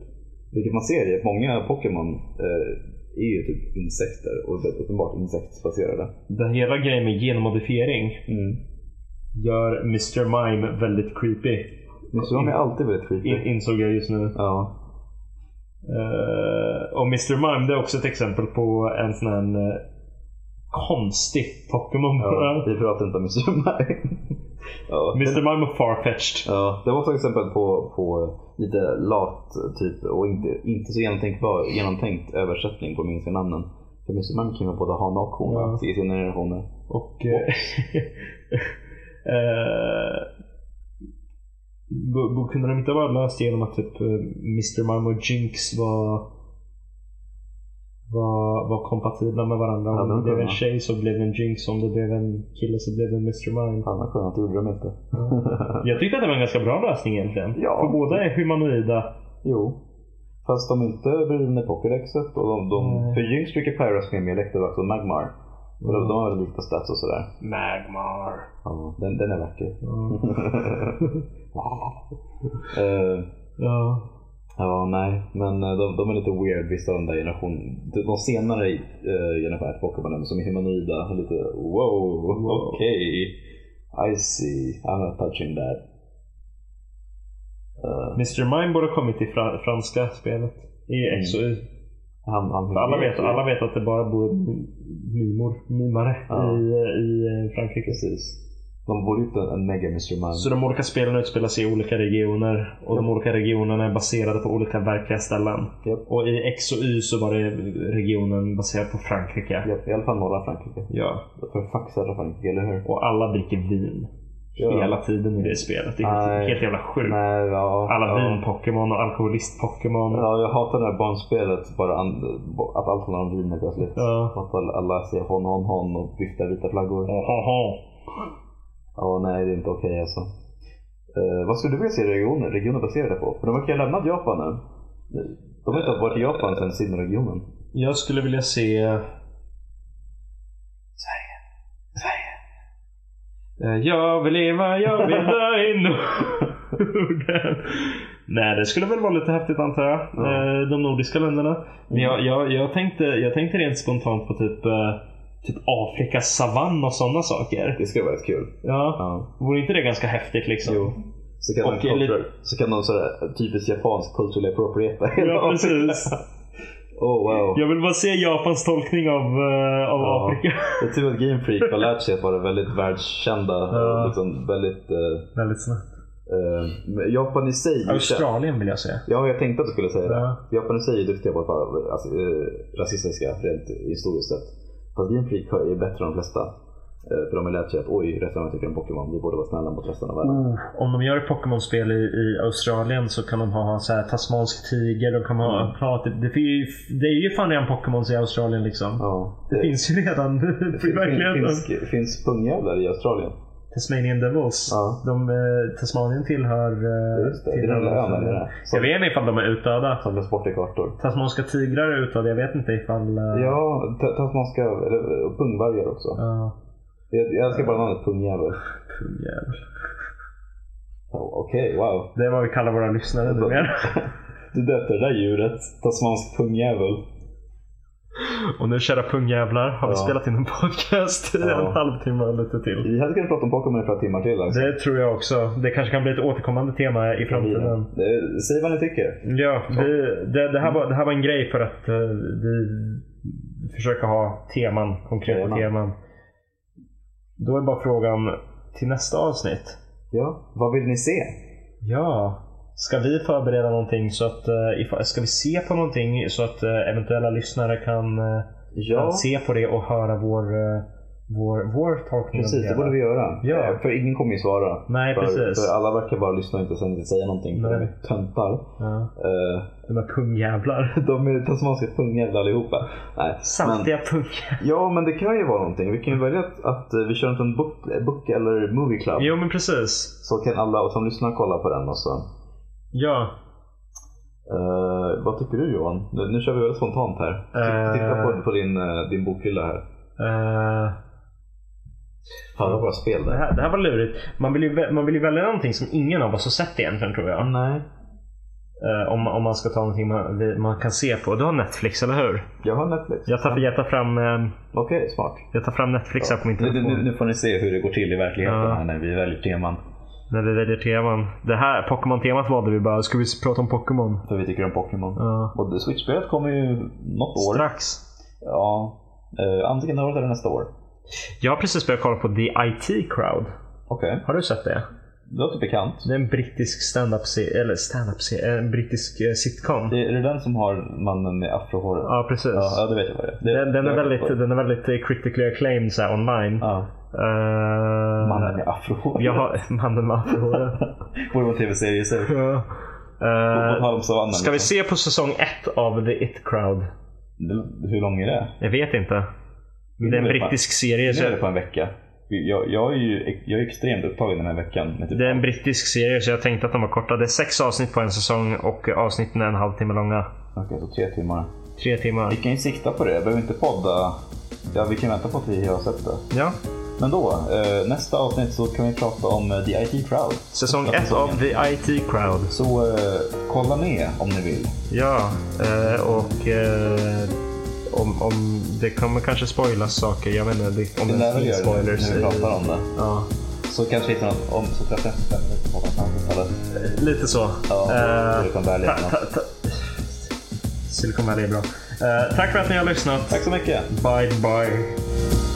[SPEAKER 2] Vilket man ser i att många Pokémon eh, är ju typ insekter och väldigt uppenbart insektsbaserade.
[SPEAKER 1] Den hela grejen med genmodifiering
[SPEAKER 2] Mm.
[SPEAKER 1] gör Mr. Mime väldigt creepy.
[SPEAKER 2] Men så de är alltid väldigt creepy.
[SPEAKER 1] In, insåg jag just nu.
[SPEAKER 2] Ja.
[SPEAKER 1] Eh, och Mr. Mime det är också ett exempel på en sån här eh, konstig Pokémon.
[SPEAKER 2] Ja, vi pratar inte om Mr. Mime. Ja.
[SPEAKER 1] Mr. Mime och Farfetched.
[SPEAKER 2] Ja, det var också exempel på, på lite lat typ och inte, inte så genomtänkbar, genomtänkt översättning på minska namnen. För Mr. Mime kan ju vara både hane och hona
[SPEAKER 1] Ja.
[SPEAKER 2] i sina generationer.
[SPEAKER 1] Och... eh, eh, bo- bo- kunde de inte ha bara löst det genom att typ eh, Mr. Mime och Jinx var var, var kompatibla med varandra.
[SPEAKER 2] Ja,
[SPEAKER 1] Om
[SPEAKER 2] de
[SPEAKER 1] det blev en
[SPEAKER 2] kunde.
[SPEAKER 1] tjej så blev det en Jinx, om det blev en kille så blev det en Mr. Mime.
[SPEAKER 2] Fan vad skönt, det gjorde de inte.
[SPEAKER 1] Jag tyckte att det var en ganska bra lösning egentligen.
[SPEAKER 2] Ja.
[SPEAKER 1] För båda är humanoida.
[SPEAKER 2] Jo. Fast de är inte brydde Pokédexet och de, de
[SPEAKER 1] Nej.
[SPEAKER 2] för Jinx brukar Pyros med mer Electabuzz och Magmar. Och de, de har väldigt lika stats och sådär.
[SPEAKER 1] Magmar.
[SPEAKER 2] Ja, den, den är vacker.
[SPEAKER 1] Ja.
[SPEAKER 2] Eh,
[SPEAKER 1] ja.
[SPEAKER 2] Ja, nej. Men eh, de, de är lite weird vissa av de där generationen. De, de senare uh, generation 1 Pokémonen som är humanoida har lite wow,
[SPEAKER 1] Wow.
[SPEAKER 2] okej. I see, I'm not touching that. Eh,
[SPEAKER 1] Mr. Mime borde ha kommit i fra- franska spelet. I
[SPEAKER 2] Mm.
[SPEAKER 1] X och Y.
[SPEAKER 2] han, han,
[SPEAKER 1] För alla vet, alla vet att det bara bor mi- mimor, mimare
[SPEAKER 2] Ja.
[SPEAKER 1] i, i Frankrike.
[SPEAKER 2] Precis. De borde gjort en, en mega Mr. Mime.
[SPEAKER 1] Så de olika spelen utspelar sig i olika regioner och de olika regionerna är baserade på olika verkliga ställen.
[SPEAKER 2] Japp.
[SPEAKER 1] Och i X och Y så var det regionen baserad på Frankrike.
[SPEAKER 2] Ja, I alla fall norra Frankrike.
[SPEAKER 1] Ja.
[SPEAKER 2] För fuck södra Frankrike, eller hur?
[SPEAKER 1] Och alla dricker vin.
[SPEAKER 2] Ja.
[SPEAKER 1] Hela tiden i det spelet. Det är
[SPEAKER 2] Nej.
[SPEAKER 1] helt, helt jävla sjukt.
[SPEAKER 2] Nej, ja,
[SPEAKER 1] Alla
[SPEAKER 2] ja.
[SPEAKER 1] vin-Pokémon och alkoholist-Pokémon.
[SPEAKER 2] Ja, jag hatar det här barnspelet. Bara an, att allt handlar om viner plötsligt.
[SPEAKER 1] Ja.
[SPEAKER 2] Att alla- alla säger hon, hon, hon och viftar vita flaggor. Ja,
[SPEAKER 1] Ohoho.
[SPEAKER 2] nej det är inte okej alltså. Eh, vad skulle du vilja se regioner, regioner baserade på? För de verkar ha lämnat Japan nu. De har inte varit i Japan sedan Sinnoh-regionen.
[SPEAKER 1] Jag skulle vilja se...
[SPEAKER 2] Sverige. Sverige.
[SPEAKER 1] eh, Jag vill leva, jag vill dö i Norden. Nej, det skulle väl vara lite häftigt antar jag.
[SPEAKER 2] Ja.
[SPEAKER 1] Eh, De nordiska länderna. Men jag, jag, jag, tänkte, jag tänkte rent spontant på typ, eh, typ Afrikas savann och sådana saker.
[SPEAKER 2] Det skulle vara rätt kul.
[SPEAKER 1] Ja.
[SPEAKER 2] Ja.
[SPEAKER 1] Vore inte det ganska häftigt liksom?
[SPEAKER 2] Jo. Så kan,
[SPEAKER 1] Och
[SPEAKER 2] de
[SPEAKER 1] är lite-
[SPEAKER 2] culture, så kan de sådär typiskt japansk kulturell appropriata hela
[SPEAKER 1] Ja,
[SPEAKER 2] Afrika.
[SPEAKER 1] precis.
[SPEAKER 2] Oh wow.
[SPEAKER 1] Jag vill bara se Japans tolkning av, eh, av
[SPEAKER 2] Ja.
[SPEAKER 1] Afrika.
[SPEAKER 2] Det är tur att Game Freak har lärt sig att vara väldigt världskända.
[SPEAKER 1] Ja.
[SPEAKER 2] Liksom väldigt, eh,
[SPEAKER 1] Väldigt snabbt.
[SPEAKER 2] eh, men Japan i sig.
[SPEAKER 1] Australien vill jag se.
[SPEAKER 2] Ja, jag tänkte att du skulle säga det.
[SPEAKER 1] Ja.
[SPEAKER 2] Japan i sig är ju duktiga på att vara ras- eh, rasistiska rent historiskt sett. Fast Game Freak har- är bättre än de flesta. Eh, För de har lärt sig att oj, resten av världen tycker om Pokémon. Vi borde vara snälla mot resten av världen.
[SPEAKER 1] Oh, om de gör ett Pokémon-spel i, i Australien så kan de ha så här tasmansk tiger, de kan ha
[SPEAKER 2] Mm.
[SPEAKER 1] prat. Det, fin- ju, det är ju fan redan Pokémons i Australien liksom.
[SPEAKER 2] Ja.
[SPEAKER 1] Det finns ju redan i verkligheten.
[SPEAKER 2] Finns, finns pungjävlar i Australien?
[SPEAKER 1] Tasmanian Devils.
[SPEAKER 2] Ja.
[SPEAKER 1] De, eh, Tasmanien tillhör... eh,
[SPEAKER 2] Just det, det är
[SPEAKER 1] tillhör
[SPEAKER 2] den där ön
[SPEAKER 1] Australien.
[SPEAKER 2] där nere.
[SPEAKER 1] Jag vet inte ifall de är utdöda.
[SPEAKER 2] Som glöms bort i kartor.
[SPEAKER 1] Tasmanska tigrar är utdöda, jag vet inte ifall... eh,
[SPEAKER 2] Ja, ta- tasmanska eller, och pungvargar också.
[SPEAKER 1] ja,
[SPEAKER 2] Jag, jag älskar bara namnet pungjävel.
[SPEAKER 1] pungjävel.
[SPEAKER 2] Oh, Okej, wow.
[SPEAKER 1] Det är vad vi kallar våra lyssnare numera.
[SPEAKER 2] Du döpte det där djuret, tasmansk pungjävel.
[SPEAKER 1] Och nu kära pungjävlar har vi
[SPEAKER 2] Ja.
[SPEAKER 1] spelat in en podcast i
[SPEAKER 2] Ja.
[SPEAKER 1] en halvtimme och lite till.
[SPEAKER 2] Vi hade kunnat prata om Pokémon i flera timmar till. Alltså.
[SPEAKER 1] Det tror jag också. Det kanske kan bli ett återkommande tema i framtiden.
[SPEAKER 2] Mm. Det- Säg vad ni tycker.
[SPEAKER 1] Ja, vi, det, det, här var, det här var en grej för att eh, vi försöker ha teman, konkreta
[SPEAKER 2] Teman.
[SPEAKER 1] teman. Då är bara frågan till nästa avsnitt.
[SPEAKER 2] Ja, vad vill ni se?
[SPEAKER 1] Ja, ska vi förbereda någonting så att, eh, ifall, ska vi se på någonting så att eh, eventuella lyssnare kan, eh,
[SPEAKER 2] Ja,
[SPEAKER 1] kan se på det och höra vår, eh, vår, vår tolkning av
[SPEAKER 2] precis. Det
[SPEAKER 1] hela?
[SPEAKER 2] borde vi göra. Eh,
[SPEAKER 1] Ja.
[SPEAKER 2] För ingen kommer ju svara.
[SPEAKER 1] Nej,
[SPEAKER 2] för,
[SPEAKER 1] precis.
[SPEAKER 2] för alla verkar bara lyssna och inte sen inte säga någonting. För
[SPEAKER 1] Nej.
[SPEAKER 2] de är töntar.
[SPEAKER 1] Ja,
[SPEAKER 2] Eh,
[SPEAKER 1] de här pungjävlar.
[SPEAKER 2] de är tasmanska pungjävlar allihopa. Nej, men,
[SPEAKER 1] Samtliga pungjävlar.
[SPEAKER 2] ja, men det kan ju vara någonting. Vi kan ju välja att, att eh, vi kör en liten book, book eller movie club.
[SPEAKER 1] Jo, men precis.
[SPEAKER 2] Så kan alla som lyssnar kolla på den. Och så.
[SPEAKER 1] Ja,
[SPEAKER 2] Eh, vad tycker du Johan? Nu, nu kör vi väldigt spontant här. Titta-
[SPEAKER 1] Eh.
[SPEAKER 2] Titta på, på din, eh, din bokhylla här.
[SPEAKER 1] eh,
[SPEAKER 2] Fan, det var bara spel
[SPEAKER 1] det,
[SPEAKER 2] där.
[SPEAKER 1] här, det här var lurigt. Man vill, ju, vä- man vill ju välja någonting som ingen av oss har sett egentligen tror jag.
[SPEAKER 2] Nej.
[SPEAKER 1] Eh, om, om man ska ta någonting man, vi- man kan se på. Du har Netflix, eller hur?
[SPEAKER 2] Jag har Netflix.
[SPEAKER 1] Jag tar, jag tar, fram, eh,
[SPEAKER 2] Okej, smart.
[SPEAKER 1] jag tar fram Netflix här på min
[SPEAKER 2] Nu,
[SPEAKER 1] telefon.
[SPEAKER 2] nu, nu får ni se hur det går till i verkligheten
[SPEAKER 1] Ja.
[SPEAKER 2] här när vi väljer teman.
[SPEAKER 1] När vi väljer teman. Det här Pokémon-temat valde vi bara. Ska vi prata om Pokémon?
[SPEAKER 2] För vi tycker om Pokémon.
[SPEAKER 1] Ja.
[SPEAKER 2] Och det- Switch-spelet kommer ju något år.
[SPEAKER 1] Strax.
[SPEAKER 2] Ja. Eh, antingen det här året eller nästa år.
[SPEAKER 1] Jag har precis börjat kolla på The IT Crowd.
[SPEAKER 2] Okej.
[SPEAKER 1] Har du sett det?
[SPEAKER 2] Det låter bekant.
[SPEAKER 1] Det är en brittisk stand-up se- eller stand-up se- en brittisk eh, sitcom.
[SPEAKER 2] Det, är det den som har mannen med afrohåret?
[SPEAKER 1] Ja, precis.
[SPEAKER 2] Ja, ja, det vet jag vad det är. Det,
[SPEAKER 1] Den, den,
[SPEAKER 2] det
[SPEAKER 1] är
[SPEAKER 2] vet jag
[SPEAKER 1] väldigt,
[SPEAKER 2] vad det
[SPEAKER 1] den är väldigt eh, critically acclaimed så här, online.
[SPEAKER 2] Ja,
[SPEAKER 1] Eh,
[SPEAKER 2] mannen med afrohåret.
[SPEAKER 1] jag har mannen med afrohåret.
[SPEAKER 2] Borde vara en tv-serie i sig.
[SPEAKER 1] Ja.
[SPEAKER 2] På
[SPEAKER 1] Eh,
[SPEAKER 2] tal om savannen.
[SPEAKER 1] Ska vi
[SPEAKER 2] liksom.
[SPEAKER 1] se på säsong ett av The It Crowd?
[SPEAKER 2] Det- Hur lång är det?
[SPEAKER 1] Jag vet inte. Det är en
[SPEAKER 2] Nu är det
[SPEAKER 1] brittisk serie.
[SPEAKER 2] Nu
[SPEAKER 1] Så
[SPEAKER 2] är det på en vecka. Jag, jag är ju jag är extremt upptagen den här veckan. Med typ
[SPEAKER 1] Det är en brittisk serie så jag tänkte att de var korta. Det är sex avsnitt på en säsong och avsnitten är en halvtimme långa.
[SPEAKER 2] Okej, så tre timmar.
[SPEAKER 1] Tre timmar.
[SPEAKER 2] Vi kan ju sikta på det. Jag behöver inte podda. Ja, vi kan vänta på att vi har sett det.
[SPEAKER 1] Ja.
[SPEAKER 2] Men då, eh, nästa avsnitt så kan vi prata om eh, The IT Crowd.
[SPEAKER 1] Säsong
[SPEAKER 2] Första
[SPEAKER 1] ett av
[SPEAKER 2] säsongen.
[SPEAKER 1] The IT Crowd.
[SPEAKER 2] Så eh, kolla med om ni vill.
[SPEAKER 1] Ja, eh, och eh, om, om det kommer kanske spoilas saker. Jag vet inte det- om
[SPEAKER 2] Det
[SPEAKER 1] det
[SPEAKER 2] lär väl
[SPEAKER 1] finns
[SPEAKER 2] göra det
[SPEAKER 1] spoilers.
[SPEAKER 2] när vi
[SPEAKER 1] i-
[SPEAKER 2] pratar om det.
[SPEAKER 1] Ja,
[SPEAKER 2] Så kanske hittar något om så 35 minuter på samtalet.
[SPEAKER 1] lite så.
[SPEAKER 2] Ja,
[SPEAKER 1] Eh,
[SPEAKER 2] Silicon Valley
[SPEAKER 1] ta-
[SPEAKER 2] eller något.
[SPEAKER 1] ta- ta- Silicon Valley är bra. Eh, tack för att ni har lyssnat.
[SPEAKER 2] Tack så mycket.
[SPEAKER 1] Bye bye.